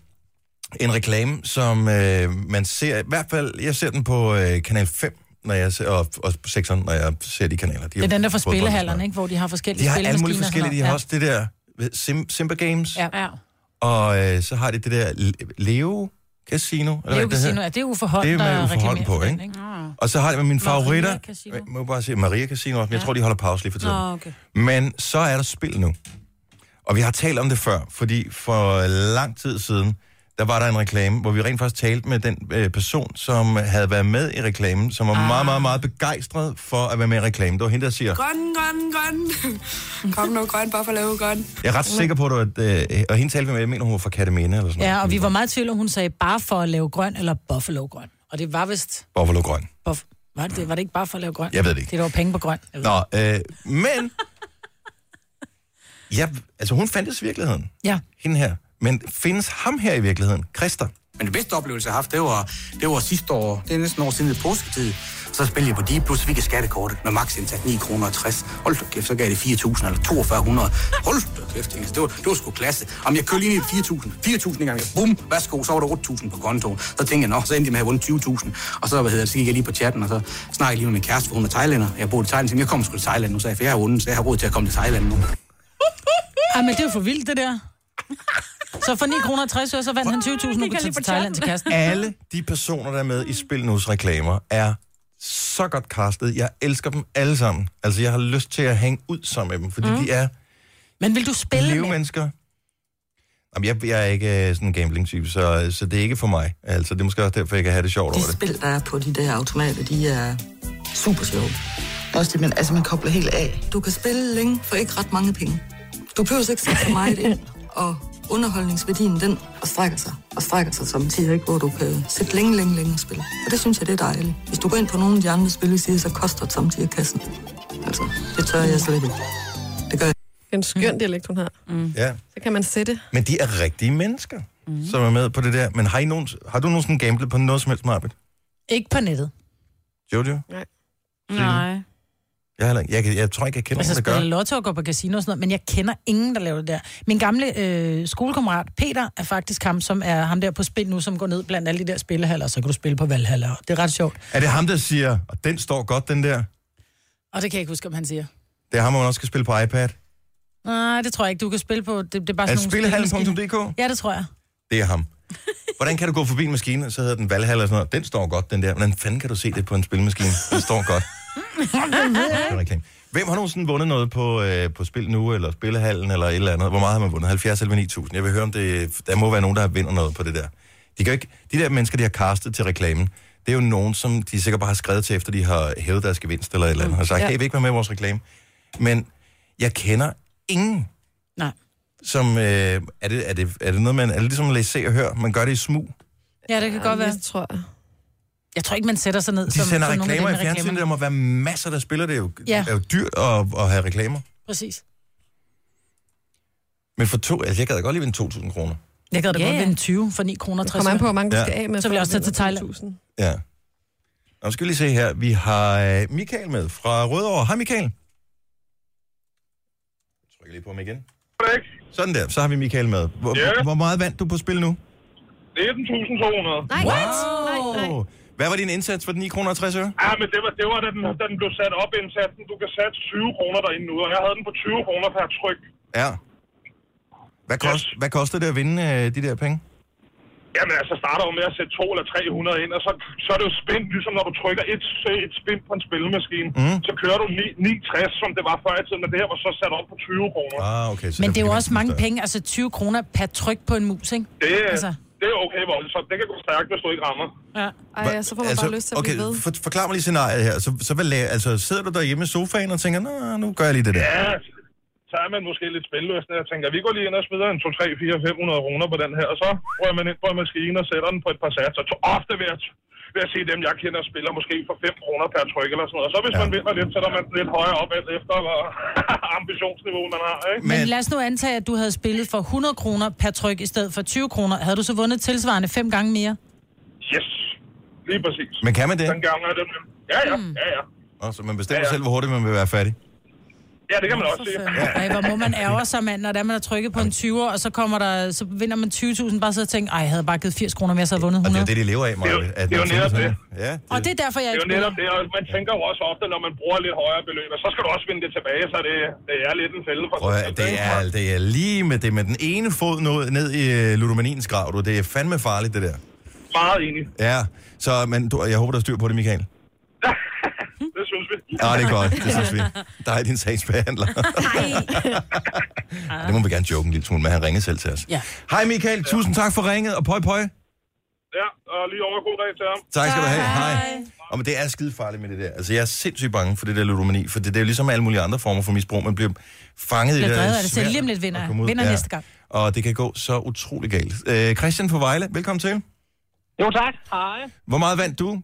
en reklame, som øh, man ser, i hvert fald, jeg ser den på øh, Kanal 5, når jeg ser, og, og på 6'eren, når jeg ser de kanaler. De Det er den der for spillehallerne, ikke? ikke? hvor de har forskellige De har alle mulige spillemaskiner og sådan forskellige. De noget. har også det der ved Sim, Simba Games. Ja. ja. Og øh, så har de det der Le- Leo Casino. Eller Leo hvad det Casino, hedder. ja, det er Uffe Holm, Det er med der Uffe Holm reklamerer på, for den, ikke? Og så har de med mine Ah. Maria favoritter. Casino. Jeg må bare sige Maria Casino, men ja. jeg Ja. tror, de holder pause lige for tiden. Nå, okay. Men så er der spil nu. Og vi har talt om det før, fordi for lang tid siden, der var der en reklame, hvor vi rent faktisk talte med den øh, person, som havde været med i reklamen, som var ah. meget, meget, meget begejstret for at være med i reklamen. Det var hende, der siger, Grøn, grøn, grøn. Kom nu, grøn, bare for at lave grøn. jeg er ret sikker på, at du, at, øh, og hende talte vi med, jeg mener, hun var fra Katamene eller sådan noget. Ja, og vi var meget i tvivl, om hun sagde bare for at lave grøn eller buffalo-grøn. Og det var vist... Buffalo grøn. Buff... Var, det, det? var det ikke bare for at lave grøn? Jeg ved det ikke. Det var penge på grøn. Jeg ved Nå, øh, men... ja, altså hun fandtes i virkeligheden, det. Ja. hende her. Men findes ham her i virkeligheden, Christer? Men det bedste oplevelse, jeg har haft, det var, det var sidste år. Det er næsten år siden i påsketid. Så spillede jeg på Deep Plus, fik jeg skattekortet med max indsat 9 kroner og 60. Hold da kæft, så gav det 4.000 eller 4200. Hold da kæft, tænkte jeg. det var, det var sgu klasse. Om jeg kørte lige ned i 4.000. 4.000 en gang. Jeg, bum, værsgo, så var der 8.000 på kontoen. Så tænkte jeg, nå, så endte jeg med at have vundet 20.000. Og så, hvad hedder det, så gik jeg lige på chatten, og så snakkede jeg lige med min kæreste, for hun er thailander. Jeg bor i Thailand, så jeg kommer sgu til Thailand nu, sagde jeg, for jeg har vundet, så jeg har råd til at komme til Thailand nu. Ej, men det er jo for vildt, det der. Så for 9 kroner og 60 øre, så vandt han 20.000 og kunne tage til Thailand til kæresten. Alle de personer, der er med i Spil Nu's reklamer, er så godt castet. Jeg elsker dem alle sammen. Altså, jeg har lyst til at hænge ud sammen med dem, fordi Mm. mm. de er Men vil du spille leve med? mennesker. Jamen, jeg, jeg er ikke øh, sådan en gambling-type, så, så det er ikke for mig. Altså, det er måske også derfor, jeg kan have det sjovt over De det. spil, der er på de der automater, de er super sjove. Også det, men, altså, man kobler helt af. Du kan spille længe for ikke ret mange penge. Du behøver ikke sætte så meget ind, og underholdningsværdien, den og strækker sig og strækker sig som tid, ikke? hvor du kan sætte længe, længe, længe og spille. Og det synes jeg, det er dejligt. Hvis du går ind på nogle af de andre spil, vi siger, så koster det samtidig kassen. Altså, det tør jeg slet ikke. Det gør jeg. En skøn dialekt, hun har. Mm. Ja. Så kan man sætte. Men de er rigtige mennesker, Mhm. mm. som er med på det der. Men har, I nogen, har du nogensinde gamblet på noget som helst, Marbet? Ikke på nettet. Jojo? Nej. Nej. Jeg, har, heller ikke- jeg, kan- jeg tror ikke, jeg kender Altså nogen, der spiller gør. lotto og går på casino og sådan noget, men jeg kender ingen, der laver det der. Min gamle øh, skolekammerat Peter er faktisk ham, som er ham der på spil nu, som går ned blandt alle de der spillehaller, og så kan du spille på valghaller. og Det er ret sjovt. Er det ham, der siger, og den står godt, den der? Og det kan jeg ikke huske, om han siger. Det er ham, man også skal spille på iPad. Nej, det tror jeg ikke. Du kan spille på... Det, det er bare Er sådan det nogle spillehallen.dk? spillemaskiner. Ja, det tror jeg. Det er ham. Hvordan kan du gå forbi en maskine, og så hedder den Valhalla eller sådan noget? Den står godt, den der. Hvordan fanden kan du se det på en spilmaskine? Den står godt. Det er en reklame. Hvem har nogensinde vundet noget på, øh, på spil nu, eller spillehallen, eller et eller andet? Hvor meget har man vundet? 70 eller 9000? Jeg vil høre, om det... Der må være nogen, der vinder noget på det der. De, kan jo ikke, de der mennesker, de har castet til reklamen, det er jo nogen, som de sikkert bare har skrevet til, efter de har hævet deres gevinst eller et eller andet, og sagt, Ja. ja. hey, vil I ikke være med i vores reklame? Men jeg kender ingen, Nej. som... Øh, er, det, er, det, er det noget, man... Er det ligesom at læse se og høre? Man gør det i smug. Ja, det kan godt være. Det tror jeg. Jeg tror ikke, man sætter sig ned. De som- sender som nogle af reklamer i dem reklamer. fjernsynet. Der må være masser, der spiller. Det er jo, Ja. ja. er jo dyrt at, at have reklamer. Præcis. Men for to... Altså, jeg gad da godt lige vinde 2.000 kroner. Jeg gad da Ja, godt ja. vinde 20 for 9 kroner. Det 60 kommer an på, hvor mange du Ja. skal af med. Så vil jeg også for at tage til vinde Thailand. 1000. Ja. Nå, skal vi lige se her. Vi har øh, Michael med fra Rødovre. Hej, Michael. Jeg trykker lige på ham igen. Sådan der, så har vi Michael med. Hvor, yeah. hvor meget vandt du på spil nu? 19.200. Nej, wow. Hvad var din indsats for den 9 kroner og 60 øre? Ja, men det var, det var da, den, da den blev sat op indsatsen. Du kan sætte 20 kroner derinde nu, og jeg havde den på 20 kroner per tryk. Ja. Hvad, kost, yes. hvad koster det at vinde øh, de der penge? Jamen altså, starter jo med at sætte 2 eller 300 ind, og så, så er det jo spændt, ligesom når du trykker et, et spin på en spillemaskine. Mm. Så kører du 9, 69, som det var før i tiden, men det her var så sat op på 20 kroner. Ah, okay. Men det er jo også mange penge, altså 20 kroner per tryk på en mus, ikke? Det, altså. det er okay voldsomt. Det kan gå stærkt, hvis du ikke rammer. Ja. Ej, altså, ja, så får man bare lyst til at altså, okay, blive ved. For, forklar mig lige scenariet her. Så, så hvad laver, altså, sidder du derhjemme i sofaen og tænker, Nå, nu gør jeg lige det der. Ja, så er man måske lidt spilløs, og jeg tænker, vi går lige ind og smider en 2, 3, 4, 500 kroner på den her, og så rører man ind på en maskine og sætter den på et par satser. Så ofte vil jeg, vil jeg se dem, jeg kender, spiller måske for 5 kroner per tryk eller sådan noget. Og så hvis ja. man vinder lidt, sætter man den lidt højere op, alt efter hvor ambitionsniveau man har, ikke? Men lad os nu antage, at du havde spillet for 100 kroner per tryk i stedet for 20 kroner. Havde du så vundet tilsvarende fem gange mere? Yes, lige præcis. Men kan man det? Den gang er det. Ja, ja, ja, ja. Og så man bestemmer ja, ja. selv, hvor hurtigt man vil være fattig. Ja, det kan man også se. Ej, hvor må man ærger sig, mand, når det er, man har trykket på en 20'er, og så, kommer der, så vinder man 20.000, bare så og tænker, ej, jeg havde bare givet 80 kroner mere, så havde jeg vundet Og det er 100. jo det, de lever af, Maja. Det er jo- at det er jo man tænker netop sådan det. her. Ja, Og det er derfor, jeg Det er ikke jo netop det, og man tænker jo også ofte, når man bruger lidt højere beløb, og så skal du også vinde det tilbage, så det, det er lidt en fælde for prøv at, høre, det, er, det er lige med det med den ene fod ned, ned i øh, ludomaniens grav, du. Det er fandme farligt, det der. Meget enig. Ja, så men du, jeg håber, der er styr på det, Michael. Det synes vi. Ja, det er godt, det synes vi. Der er din sagsbehandler. Nej. det må vi gerne joke en lille smule med, han ringer selv til os. Ja. Hej Michael, tusind tak for ringet, og pøj pøj. Ja, og lige over god dag til ham. Tak skal du have. Hej. Og men det er skide farligt med det der. Altså, jeg er sindssygt bange for det der ludomani, for det, det er jo ligesom alle mulige andre former for misbrug. Man bliver fanget Bliver i det drevet der af det selv. Lige om lidt vinder at jeg. komme ud. Vinder næste gang. Og det kan gå så utrolig galt. Øh, Christian fra Vejle, velkommen til. Jo, tak. Hej. Hvor meget vandt du?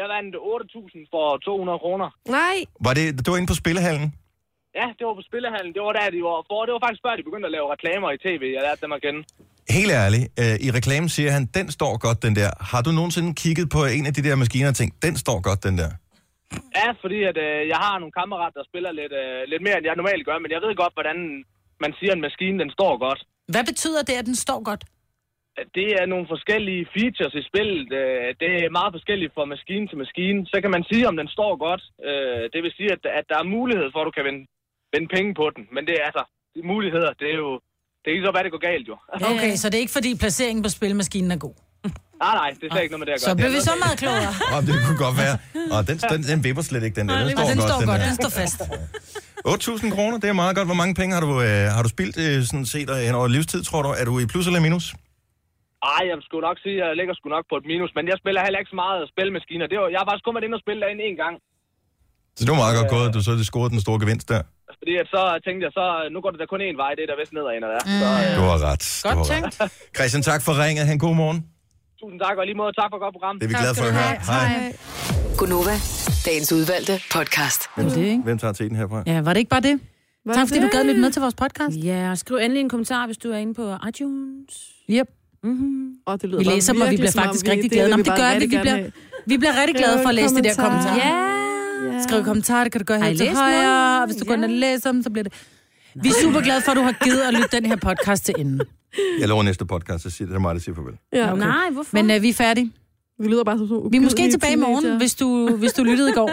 Jeg vandt 8.000 for 200 kroner. Nej. Var det, du var inde på spillehallen? Ja, det var på Spillehallen. Det var der, de var for. Det var faktisk før, de begyndte at lave reklamer i tv. Jeg lærte dem at kende. Helt ærligt, øh, i reklamen siger han, den står godt, den der. Har du nogensinde kigget på en af de der maskiner og tænkt, den står godt, den der? Ja, fordi at, øh, jeg har nogle kammerater, der spiller lidt, øh, lidt mere, end jeg normalt gør. Men jeg ved godt, hvordan man siger, at en maskine den står godt. Hvad betyder det, at den står godt? Det er nogle forskellige features i spillet. Øh, Det er meget forskelligt fra maskine til maskine. Så kan man sige, om den står godt. Øh, Det vil sige, at at der er mulighed for, at du kan vinde, vinde penge på den. Men det er altså muligheder. Det er jo... Det er lige så, hvad det går galt, jo. Okay, Øh, så det er ikke, fordi placeringen på spilmaskinen er god. Nej, nej, det er slet ikke noget med det at gøre. Så blev vi så meget klogere. Og det kunne godt være. Og den, den, den vipper slet ikke, den der. Den står, Og den godt, står godt, her. den står fast. 8.000 kroner, det er meget godt. Hvor mange penge har du, øh, har du spildt øh, sådan set øh, hen over livstid, tror du? Er du i plus eller minus? Ej, jeg skulle nok sige, at jeg ligger sgu nok på et minus, men jeg spiller heller ikke så meget spilmaskiner. Det var, jeg har faktisk kun været inde og spille derinde en gang, Så det var meget godt gået, at du så det scorede den store gevinst der. fordi at så tænkte jeg, så nu går det da kun én vej, det er der vist nedad, når der er. Så, øh, Du har ret. Du har ret. tænkt. Christian, tak for ringet. Han god morgen. Tusind tak, og i lige måde tak for et godt program. Det er vi glade for at høre. Hej. Gunova, dagens udvalgte podcast. Hvem tager teten herfra? Ja, var det ikke bare det? Var tak fordi det? du gad lytte med til vores podcast. Ja, og skriv endelig en kommentar, hvis du er inde på iTunes. Yep. Mm-hmm. Og det Vi læser dem, og vi bliver faktisk rigtig glade. Nå, men det gør vi. Vi bliver, vi bliver rigtig glade for at læse det der kommentar. Ja. Skriv kommentarer, det kan du gøre Ej, her til læs højre. noget. Og hvis du går ind og læser dem, så bliver det... Vi er super glade for, at du har givet at lytte den her podcast til enden. Jeg lover næste podcast, så siger det er mig, der siger farvel. Ja, okay. Nej, hvorfor? Men øh, vi er færdige. Vi lyder bare så Vi er måske ugidelige tilbage i morgen, teenager. hvis du, hvis du lyttede i går.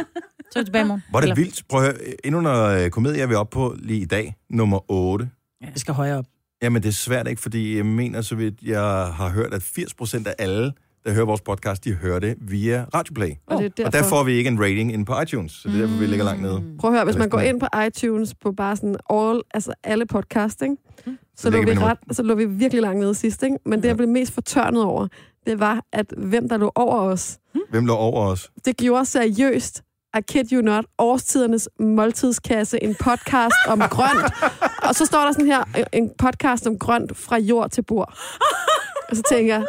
Så er vi tilbage i morgen. Var det Eller- vildt? Prøv at høre. Endnu under komedie er vi oppe på lige i dag. Nummer 8. Ja, vi skal højere op. Jamen, det er svært ikke, fordi jeg mener, så vidt jeg har hørt, at 80% af alle, der hører vores podcast, de hører det via Radioplay. Og det er Og der derfor- får vi ikke en rating inde på iTunes, så det er derfor, vi ligger langt Mm. nede. Prøv at høre, hvis man går ind på iTunes på bare sådan all, altså alle podcast, ikke? Mm. Så, lå ligger vi vi nummer- ret, så lå vi virkelig langt nede sidst, ikke? Men det, jeg blev mest fortørnet over, det var, at hvem der lå over os, Hvem lå over os? det gjorde seriøst, I kid you not, årstidernes måltidskasse, en podcast om grønt. Og så står der sådan her, øh, en podcast om grønt fra jord til bord. Og så tænker jeg,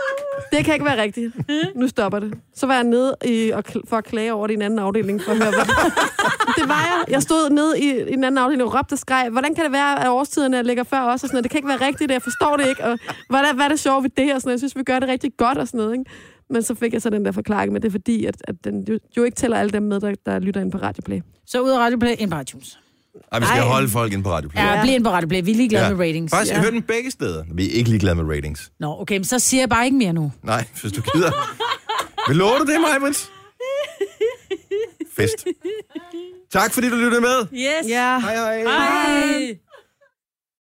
det kan ikke være rigtigt. Nu stopper det. Så var jeg nede i, og kl- for at klage over det i en anden afdeling, for at høre, hvad det var jeg. Jeg stod nede i, i en anden afdeling og råbte og skreg, hvordan kan det være, at årstiderne ligger før os? Og sådan noget. Det kan ikke være rigtigt, og jeg forstår det ikke. Og hvad er, der- hvad er det sjovt ved det? Og sådan noget. Jeg synes, vi gør det rigtig godt og sådan noget. Ikke? Men så fik jeg så den der forklaring, men det er fordi, at, at den jo, jo ikke tæller alle dem med, der, der lytter ind på Radioplay. Så ud af Radioplay, ind på iTunes. Ej, vi skal Ej. holde folk ind på Radioplay. Ja, bliv ind på Radioplay. Vi er ligeglade med ratings. Faktisk, ja. jeg hører den begge steder. Vi er ikke ligeglade med ratings. Nå, okay, men så siger jeg bare ikke mere nu. Nej, hvis du gider. Vil love du det, Majbrits? Fest. Tak fordi du lyttede med. Yes. Ja. Hej, hej. Hej.